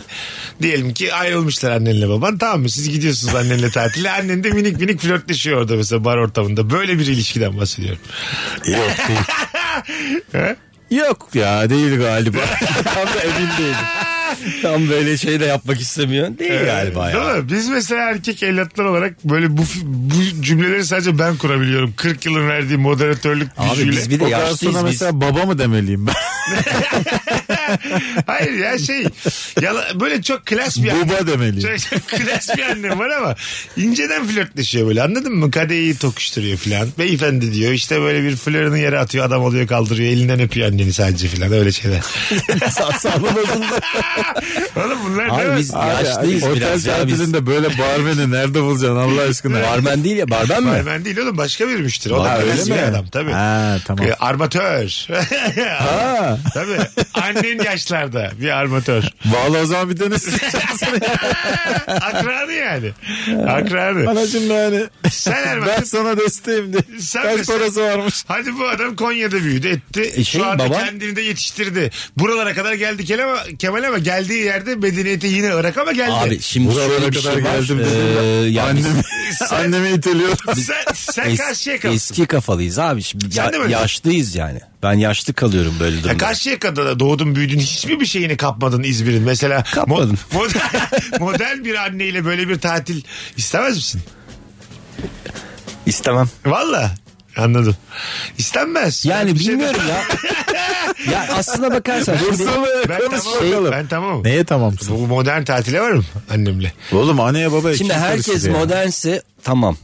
diyelim ki ayrılmışlar annenle baban tamam mı siz gidiyorsunuz annenle tatile annen de minik minik flörtleşiyor orada mesela bar ortamında böyle bir ilişkiden bahsediyorum.
Yok değil. Yok ya değil galiba.
(laughs) tam da emin değilim. (laughs) Tam böyle şey de yapmak istemiyorsun. Değil galiba ya.
Değil mi? Biz mesela erkek evlatlar olarak böyle bu, bu cümleleri sadece ben kurabiliyorum. 40 yılın verdiği moderatörlük
Abi
gücüyle.
biz bir de
O kadar
yaşlıyız
sonra
biz.
mesela baba mı demeliyim ben?
Hayır ya şey yala- böyle çok klas bir
Buba demeliyim.
Çok, çok klas Şey, bir annem var ama inceden flörtleşiyor böyle anladın mı? Kadeyi tokuşturuyor filan. Beyefendi diyor işte böyle bir flörünü yere atıyor adam oluyor kaldırıyor elinden öpüyor anneni sadece filan öyle şeyler. (laughs) Oğlum bunlar ne?
Abi biz yaşlıyız
Otel
biraz ya biz.
tatilinde böyle barmeni nerede bulacaksın Allah aşkına?
Barmen değil ya barmen mi?
Barmen değil oğlum başka bir müşteri. O
Ha,
da
öyle
klas bir
mi?
adam tabii.
Ha, tamam.
E, (laughs) Armatör. tabii. Annen yaşlarda bir (laughs) armatör.
Vallahi o zaman bir denesin. (laughs)
Akranı yani. Akranı.
Anacım yani.
Sen
Ben
Erman.
sana desteğim diye.
Sen
Kaç
mesela-
parası varmış?
Hadi bu adam Konya'da büyüdü etti.
E şey,
Şu anda
baban-
kendini de yetiştirdi. Buralara kadar geldi Kemal ama, Kemal ama geldiği yerde medeniyeti yine Irak ama geldi.
Abi şimdi
Buralara
şöyle bir
kadar
şey var.
geldim
Ee,
dedim
yani biz
Annemi, annemi iteliyor.
sen sen
(laughs) es-
karşıya kal.
eski kafalıyız abi. Şimdi
Sen
ya-
de böyle.
yaşlıyız yani. Ben yaşlı kalıyorum böyle durumda.
Ya karşıya kadar da doğdun büyüdün hiçbir bir şeyini kapmadın İzmir'in mesela. mo- (laughs)
Kapmadım.
mod- model bir anneyle böyle bir tatil istemez misin?
İstemem.
Valla anladım. İstenmez.
Yani
Bir şey de-
bilmiyorum ya. (laughs) ya aslına bakarsan. şimdi-
Ben
Şey-
tamam. Ben tamam.
Neye tamamsın?
Bu modern tatile varım annemle.
Oğlum anneye babaya
Şimdi
kim
herkes
karışır ya?
modernse tamam.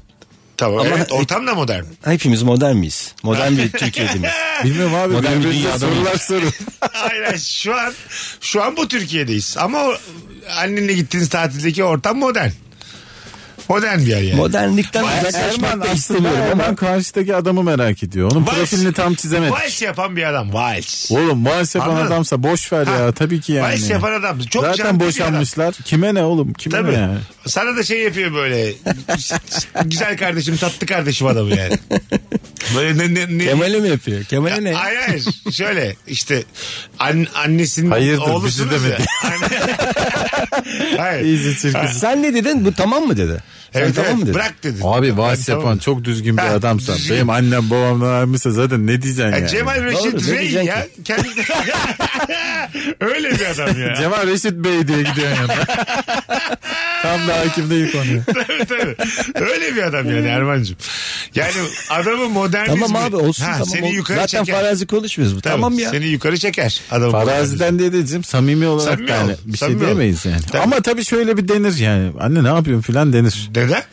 Tamam.
Ama- e-
evet ortam da modern.
Hepimiz modern miyiz?
(laughs)
Modern bir Türkiye'de miyiz?
Bilmiyorum abi.
Modern bir
birbirimize
dünyada
sorular sorun.
Aynen şu an şu an bu Türkiye'deyiz. Ama o- annenle gittiğiniz tatildeki ortam modern. Modern bir yer yani.
Modernlikten
Erman
uzaklaşmak da
aslında
istemiyorum ama.
Erman karşıdaki adamı merak ediyor. Onun
Vals-
profilini tam çizemedi.
Vals yapan bir adam. Vals.
Oğlum vals yapan
Anladın?
adamsa boş ver
Ha.
ya tabii ki yani.
Vals yapan adam. Çok canlı
Zaten
bir
boşanmışlar. Kime ne oğlum? Kime
Tabii.
ne yani?
Sana da şey yapıyor böyle. Güzel kardeşim, tatlı kardeşim adamı yani. Böyle ne ne ne
Kemal'e mi yapıyor? Kemal'e ne?
Hayır hayır. Şöyle işte an, annesinin
Hayırdır, bizi
oğlusunuz ya. Hani-
demedi. (laughs)
hayır.
İyice çirkin.
Sen ne dedin? Bu tamam mı dedi? Sen
Evet,
tamam
evet,
mı dedi?
bırak dedi.
Abi
Ben
vals
tamam
yapan çok düzgün bir
Ha,
adamsan.
düzgün.
Benim annem babamdan ayrılmışsa zaten ne diyeceksin
Ya
yani?
Cemal
Doğru,
Reşit
ne
Rey
diyeceksin
ya.
(laughs)
Kendi... Öyle bir adam ya.
Cemal Reşit Bey diye gidiyorsun yanına. Tam da hakim değil konuya.
(laughs) tabii, tabii. Öyle bir adam
Hmm.
yani Erman'cığım. Yani adamı modernizmi...
Tamam abi olsun
Ha,
tamam.
Seni
olsun.
yukarı
Zaten
çeker.
farazi konuşmuyoruz bu.
Tabii,
Tamam ya.
Seni yukarı çeker. Adamı modernizmi.
Faraziden diye diyeceğim samimi olarak
Samimi
yani
ol,
bir
samimi
şey
ol.
diyemeyiz yani.
Tabii.
Ama tabii şöyle bir denir yani. Anne ne yapıyorsun filan denir. (laughs)
Neden?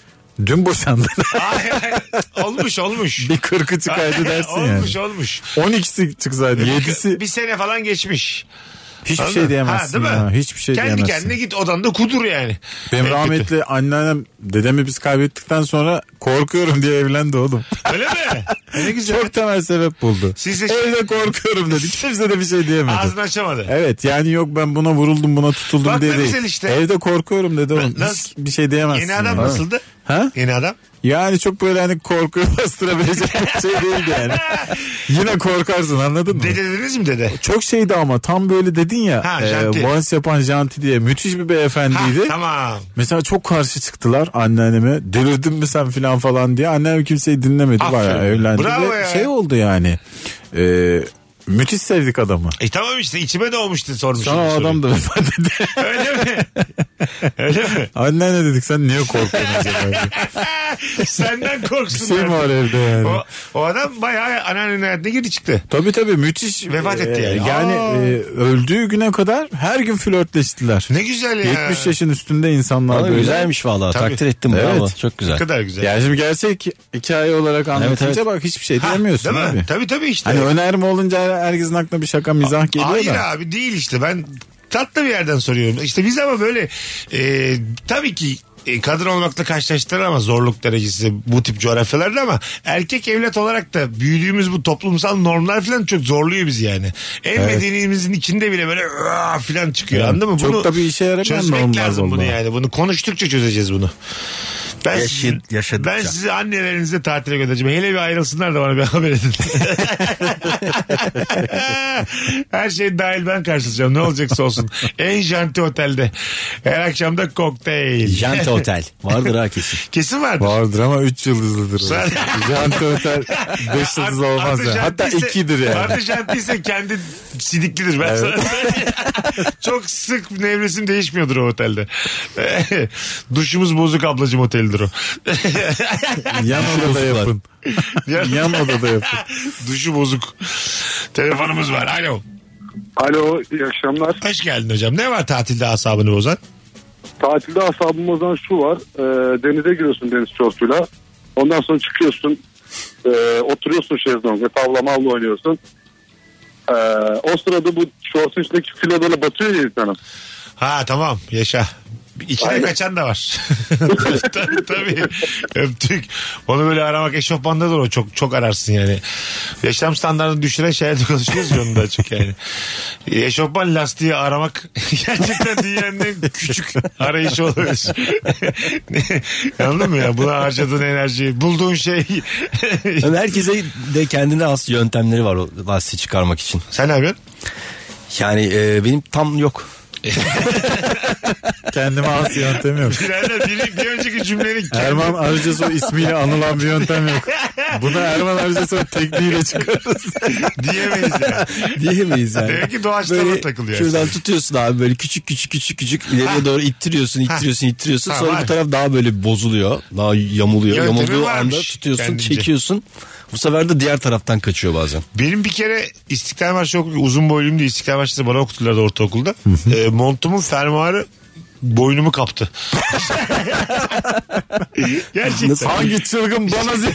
Dün boşandın.
Ay, ay, olmuş olmuş.
(laughs) bir kırkı çıkaydı dersin yani.
(laughs) olmuş olmuş.
12'si çıksaydı 7'si
Bir sene falan geçmiş.
hiçbir
Anladın?
şey diyemezsin
Ha, değil
ya.
mi?
Hiçbir şey
Kendi
diyemezsin.
kendine git odanda kudur yani.
Benim
En kötü.
rahmetli anneannem dedemi biz kaybettikten sonra korkuyorum diye evlendi oğlum.
Öyle
(laughs)
mi? Ne güzel.
Çok temel sebep buldu.
Siz de-
Evde
(laughs)
korkuyorum dedi. Kimse de bir şey diyemedi.
Ağzını açamadı.
Evet yani yok ben buna vuruldum buna tutuldum
Bak ne
diye değil.
güzel işte.
Evde korkuyorum dedi oğlum.
Nasıl-
Hiç bir şey diyemezsin.
Yeni adam
yani.
nasıldı?
Ha?
Yeni adam.
Yani çok böyle hani korkuyu (laughs) bastırabilecek bir şey değildi
(laughs)
yani. Yine korkarsın anladın mı?
Dede dediniz mi
(laughs)
dede?
Çok şeydi ama tam böyle dedin ya.
Ha,
e,
janti.
vals yapan janti diye müthiş bir
Ha,
beyefendiydi.
tamam.
Mesela çok karşı çıktılar anneanneme. Delirdin mi sen filan falan diye. Annem kimseyi dinlemedi.
Aferin.
Bayağı evlendi.
Bravo
ve
ya.
Şey oldu yani. E, müthiş sevdik adamı.
E tamam işte içime doğmuştu sormuşum.
Sana
bu
o
soruyu.
adam da vefat etti.
Öyle mi? Öyle
(laughs)
mi?
Anneanne dedik sen niye korkuyorsun acaba?
(laughs) Senden korksun.
Bir şey mi var evde yani?
O, o adam bayağı anneannenin hayatına girdi çıktı.
Tabii tabii müthiş.
Vefat etti yani.
Ee, Yani
Aa.
e, öldüğü güne kadar her gün flörtleştiler.
Ne güzel ya.
70 yaşın üstünde insanlar
Valla
böyle.
güzelmiş valla
Tabii.
takdir ettim
Evet.
bravo çok
Ne
güzel.
kadar güzel.
Yani şimdi gerçek hikaye olarak anlatınca
evet.
bak hiçbir şey
Ha,
diyemiyorsun
değil mi?
abi.
Tabii tabii işte.
Hani önerme olunca herkesin aklına bir şaka mizah geliyor
Hayır
da.
abi değil işte ben tatlı bir yerden soruyorum. İşte biz ama böyle e, tabii ki e, kadın olmakla karşılaştılar ama zorluk derecesi bu tip coğrafyalarda ama erkek evlat olarak da büyüdüğümüz bu toplumsal normlar falan çok zorluyor bizi yani. En medeniyimizin içinde bile böyle "Aa!" falan çıkıyor
Evet.
anladın mı?
Çok da bir şey işe yaramayan
çözmek
normlar
lazım bunu
vallahi.
yani. Bunu konuştukça çözeceğiz bunu. Ben,
Yaşın-
sizin-
yaşadıkça.
ben sizi annelerinize tatile göndereceğim. Hele bir ayrılsınlar da bana bir haber edin. (laughs) Her şey dahil ben karşılayacağım. Ne olacaksa olsun. En janti otelde. Her akşam da kokteyl. (laughs)
Jante Otel. Vardır ha kesin.
Kesin vardır.
Vardır ama 3 yıldızlıdır.
Sen-
Jant Öter 5 yıldız
Artı-
olmaz
artı
yani. Hatta
jantiyse-
2'dir yani.
Artı jantiyse kendi sidiklidir ben sana
(laughs)
söyleyeyim. Çok sık nevresim değişmiyordur o otelde. (laughs) Duşumuz bozuk ablacım otelidir o. (laughs)
Yan odada yapın. Yan odada yapın.
Duşu bozuk. Telefonumuz var. Alo.
Alo iyi akşamlar.
Hoş geldin hocam. Ne var tatilde asabını bozan?
Tatilde asabım bozan şu var. e, denize giriyorsun deniz şortuyla. Ondan sonra çıkıyorsun. e, oturuyorsun şezlongda. Tavla mavla oynuyorsun. E, o sırada bu şortun içindeki filo böyle batıyor ya insanın.
Ha tamam yaşa. İçine
Aynen.
kaçan da var. (laughs) tabii, tabii. Öptük. Onu böyle aramak eşofmanda da o çok çok ararsın yani. Yaşam standartını düşüren şeylerde konuşuyoruz ya onu daha çok yani. Eşofman lastiği aramak (laughs) gerçekten dünyanın en küçük arayışı olabilir. (laughs) Anladın mı ya? Buna harcadığın enerjiyi, bulduğun şey.
Yani herkese de kendine has yöntemleri var o lastiği çıkarmak için.
Sen ne yapıyorsun?
Yani e, benim tam yok. (laughs)
Kendime az yöntem yok.
Birader bir, bir önceki cümlenin
Erman Arıcasoy ismiyle anılan bir yöntem yok. Buna Erman Arıcasoy tekniğiyle çıkarız.
diyemeyiz yani.
Diyemeyiz yani.
Demek ki doğaçlama takılıyor.
Şuradan tutuyorsun abi böyle küçük küçük küçük küçük ileriye doğru ittiriyorsun ittiriyorsun ittiriyorsun.
Ha,
Sonra
var.
bu taraf daha böyle bir bozuluyor. Daha yamuluyor.
Yöntemi
Yamulduğu
varmış
anda tutuyorsun
kendince.
çekiyorsun. Bu sefer de diğer taraftan kaçıyor bazen.
Benim bir kere İstiklal Marşı okurken uzun boyluyumdu. İstiklal Marşı'nı bana okuttular da ortaokulda. E, montumun fermuarı boynumu
(laughs)
kaptı. Gerçekten.
Hangi çılgın bana zil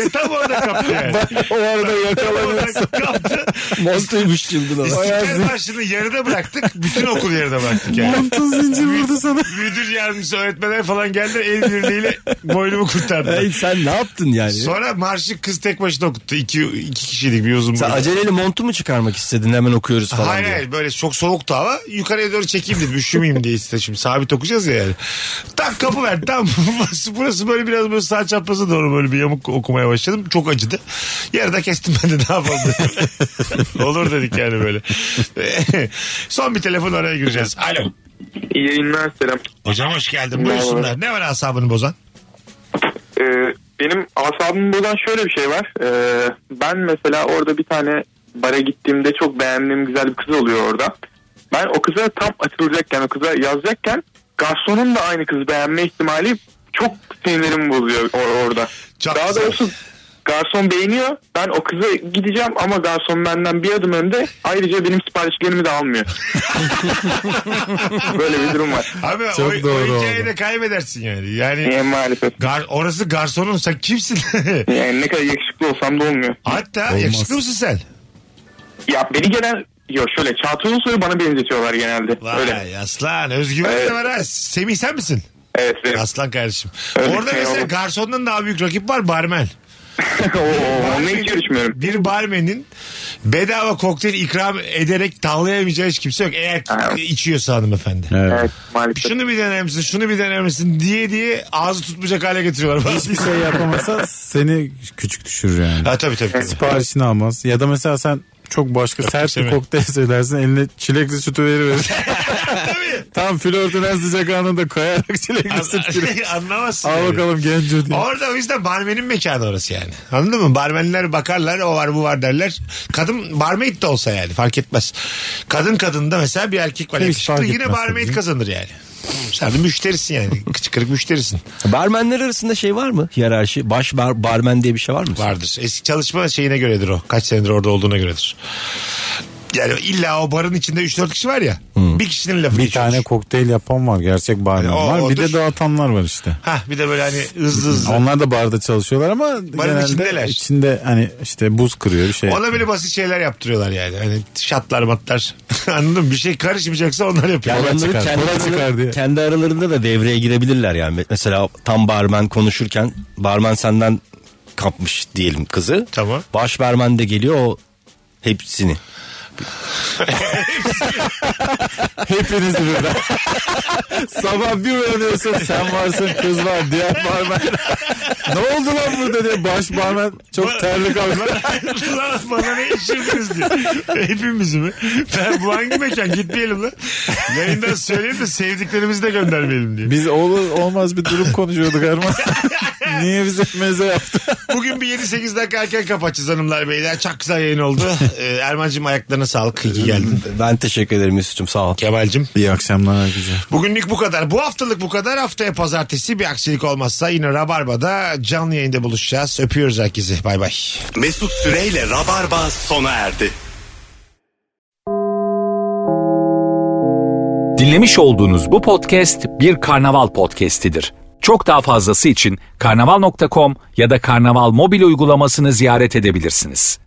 Ya tam orada kaptı yani.
o arada
Tam
yakalanıyor.
orada kaptı.
Monstaymış çılgın ama.
İstiklal Marşı'nı yarıda bıraktık. Bütün okul yarıda bıraktık yani.
Montun zincir vurdu sana.
Müdür yardımcısı öğretmenler falan geldi. El birliğiyle boynumu kurtardı.
Ey, sen ne yaptın yani?
Sonra marşı kız tek başına okuttu. İki, iki kişilik bir uzun
sen
boylu.
aceleyle montu mu çıkarmak istedin hemen okuyoruz falan
Hayır
diye.
hayır böyle çok soğuktu hava. Yukarıya doğru çekeyim dedim. Üşümeyeyim diye işte şimdi sabit okuyacağız ya yani. Tam kapı verdi tam (laughs) burası, burası böyle biraz böyle sağ çapraza doğru böyle bir yamuk okumaya başladım. Çok acıdı. Yarıda kestim ben de ne yapalım dedim. (laughs) Olur dedik yani böyle. Son bir telefon oraya gireceğiz. Alo.
İyi yayınlar selam.
Hocam hoş geldin. Buyursunlar. Ne var asabını
(laughs)
bozan?
Ee, benim asabımı bozan şöyle bir şey var. Ee, ben mesela orada bir tane bara gittiğimde çok beğendiğim güzel bir kız oluyor orada. Ben o kıza tam açılacakken, o kıza yazacakken garsonun da aynı kızı beğenme ihtimali çok sinirlerimi bozuyor or- orada.
Çok
Daha
güzel.
doğrusu garson beğeniyor. Ben o kıza gideceğim ama garson benden bir adım önde. Ayrıca benim siparişlerimi de almıyor. Böyle bir
(laughs)
durum var.
Abi
Çok
o,
doğru
o
oldu.
hikayeyi de kaybedersin yani. Yani
Yani maalesef.
gar, orası garsonun sen kimsin? (laughs)
Yani ne kadar yakışıklı olsam da olmuyor.
Hatta yakışıklı mısın sen?
Ya beni gelen Yok şöyle Çağatay Ulusoy'u bana benzetiyorlar genelde.
Vay
Öyle.
aslan özgüven
Evet.
de var ha. Semih sen misin?
Evet. benim.
Aslan kardeşim.
Öyle
Orada
şey
mesela
oldu.
garsondan daha büyük rakip var barmen.
Oo, onunla hiç görüşmüyorum.
Bir barmenin bedava kokteyl ikram ederek tavlayamayacağı hiç kimse yok. Eğer
Evet.
içiyorsa hanımefendi.
Evet maalesef.
Şunu bir dener misin, şunu bir dener misin diye diye ağzı tutmayacak hale getiriyorlar.
Hiçbir şey yapamasa seni küçük düşürür yani.
ha tabii tabii. tabii.
Siparişini almaz. Ya da mesela sen çok başka sert bir
istemiyorum.
kokteyl söylersin eline çilekli sütü veriverir. Tam flörtünen sıcak anında koyarak çilekli süt giriyor.
(laughs) Anlamazsın.
Al
yani.
bakalım genco diye.
Orada o yüzden barmenin mekanı orası yani. Anladın mı? Barmenler bakarlar o var bu var derler. Kadın barmaid de olsa yani fark etmez. Kadın kadında mesela bir erkek var.
Hiç
Yakışıklı
fark
yine
etmez
barmaid
tabii.
kazanır yani. Sen de müşterisin yani. Kıçı kırık müşterisin.
Barmenler arasında şey var mı? Hiyerarşi. Baş bar- barmen diye bir şey var mı?
Vardır. Eski çalışma şeyine göredir o. Kaç senedir orada olduğuna göredir. Yani illa o barın içinde 3-4 kişi var ya. Bir kişinin lafı
Hmm. Bir
geçiyordur.
tane kokteyl yapan var. Gerçek barmen
Yani o-
var. Bir
odur.
de dağıtanlar var işte.
Hah bir de böyle hani hızlı hızlı.
Onlar da barda çalışıyorlar ama genelde
içindeler.
içinde hani işte buz kırıyor bir şey.
Ona böyle basit şeyler yaptırıyorlar yani. Hani şatlar matlar. (laughs) Anladın mı? Bir şey karışmayacaksa onlar yapıyor.
Yani
Kola
onları
çıkar,
kendi,
kola
araları-
çıkar diye.
kendi aralarında da devreye girebilirler yani. Mesela tam barmen konuşurken barmen senden kapmış diyelim kızı.
Tamam.
Baş barmen de geliyor o hepsini.
Hepiniz birden. (laughs) Sabah bir uyanıyorsun sen varsın kız var diğer barmen. (laughs) ne oldu lan burada diye baş barmen çok terli kalmış.
lan bana ne işiniz diyor. Hepimiz mi? Ben bu hangi mekan gitmeyelim lan. Yayından söyleyeyim de sevdiklerimizi de göndermeyelim diye.
Biz olur olmaz bir durum konuşuyorduk Erman. Niye bize meze yaptı?
Bugün bir 7-8 dakika erken kapatacağız hanımlar beyler. Çok güzel yayın oldu. Ee, Erman'cığım ayaklarına sağlık. İyi ki geldin.
Ben teşekkür ederim Mesut'cum sağ ol.
Kemal'cim.
İyi akşamlar herkese.
Bugünlük bu kadar. Bu haftalık bu kadar. Haftaya pazartesi bir aksilik olmazsa yine Rabarba'da canlı yayında buluşacağız. Öpüyoruz herkesi. Bay bay.
Mesut Süreyle Rabarba sona erdi.
Dinlemiş olduğunuz bu podcast bir karnaval podcastidir. Çok daha fazlası için karnaval.com ya da karnaval mobil uygulamasını ziyaret edebilirsiniz.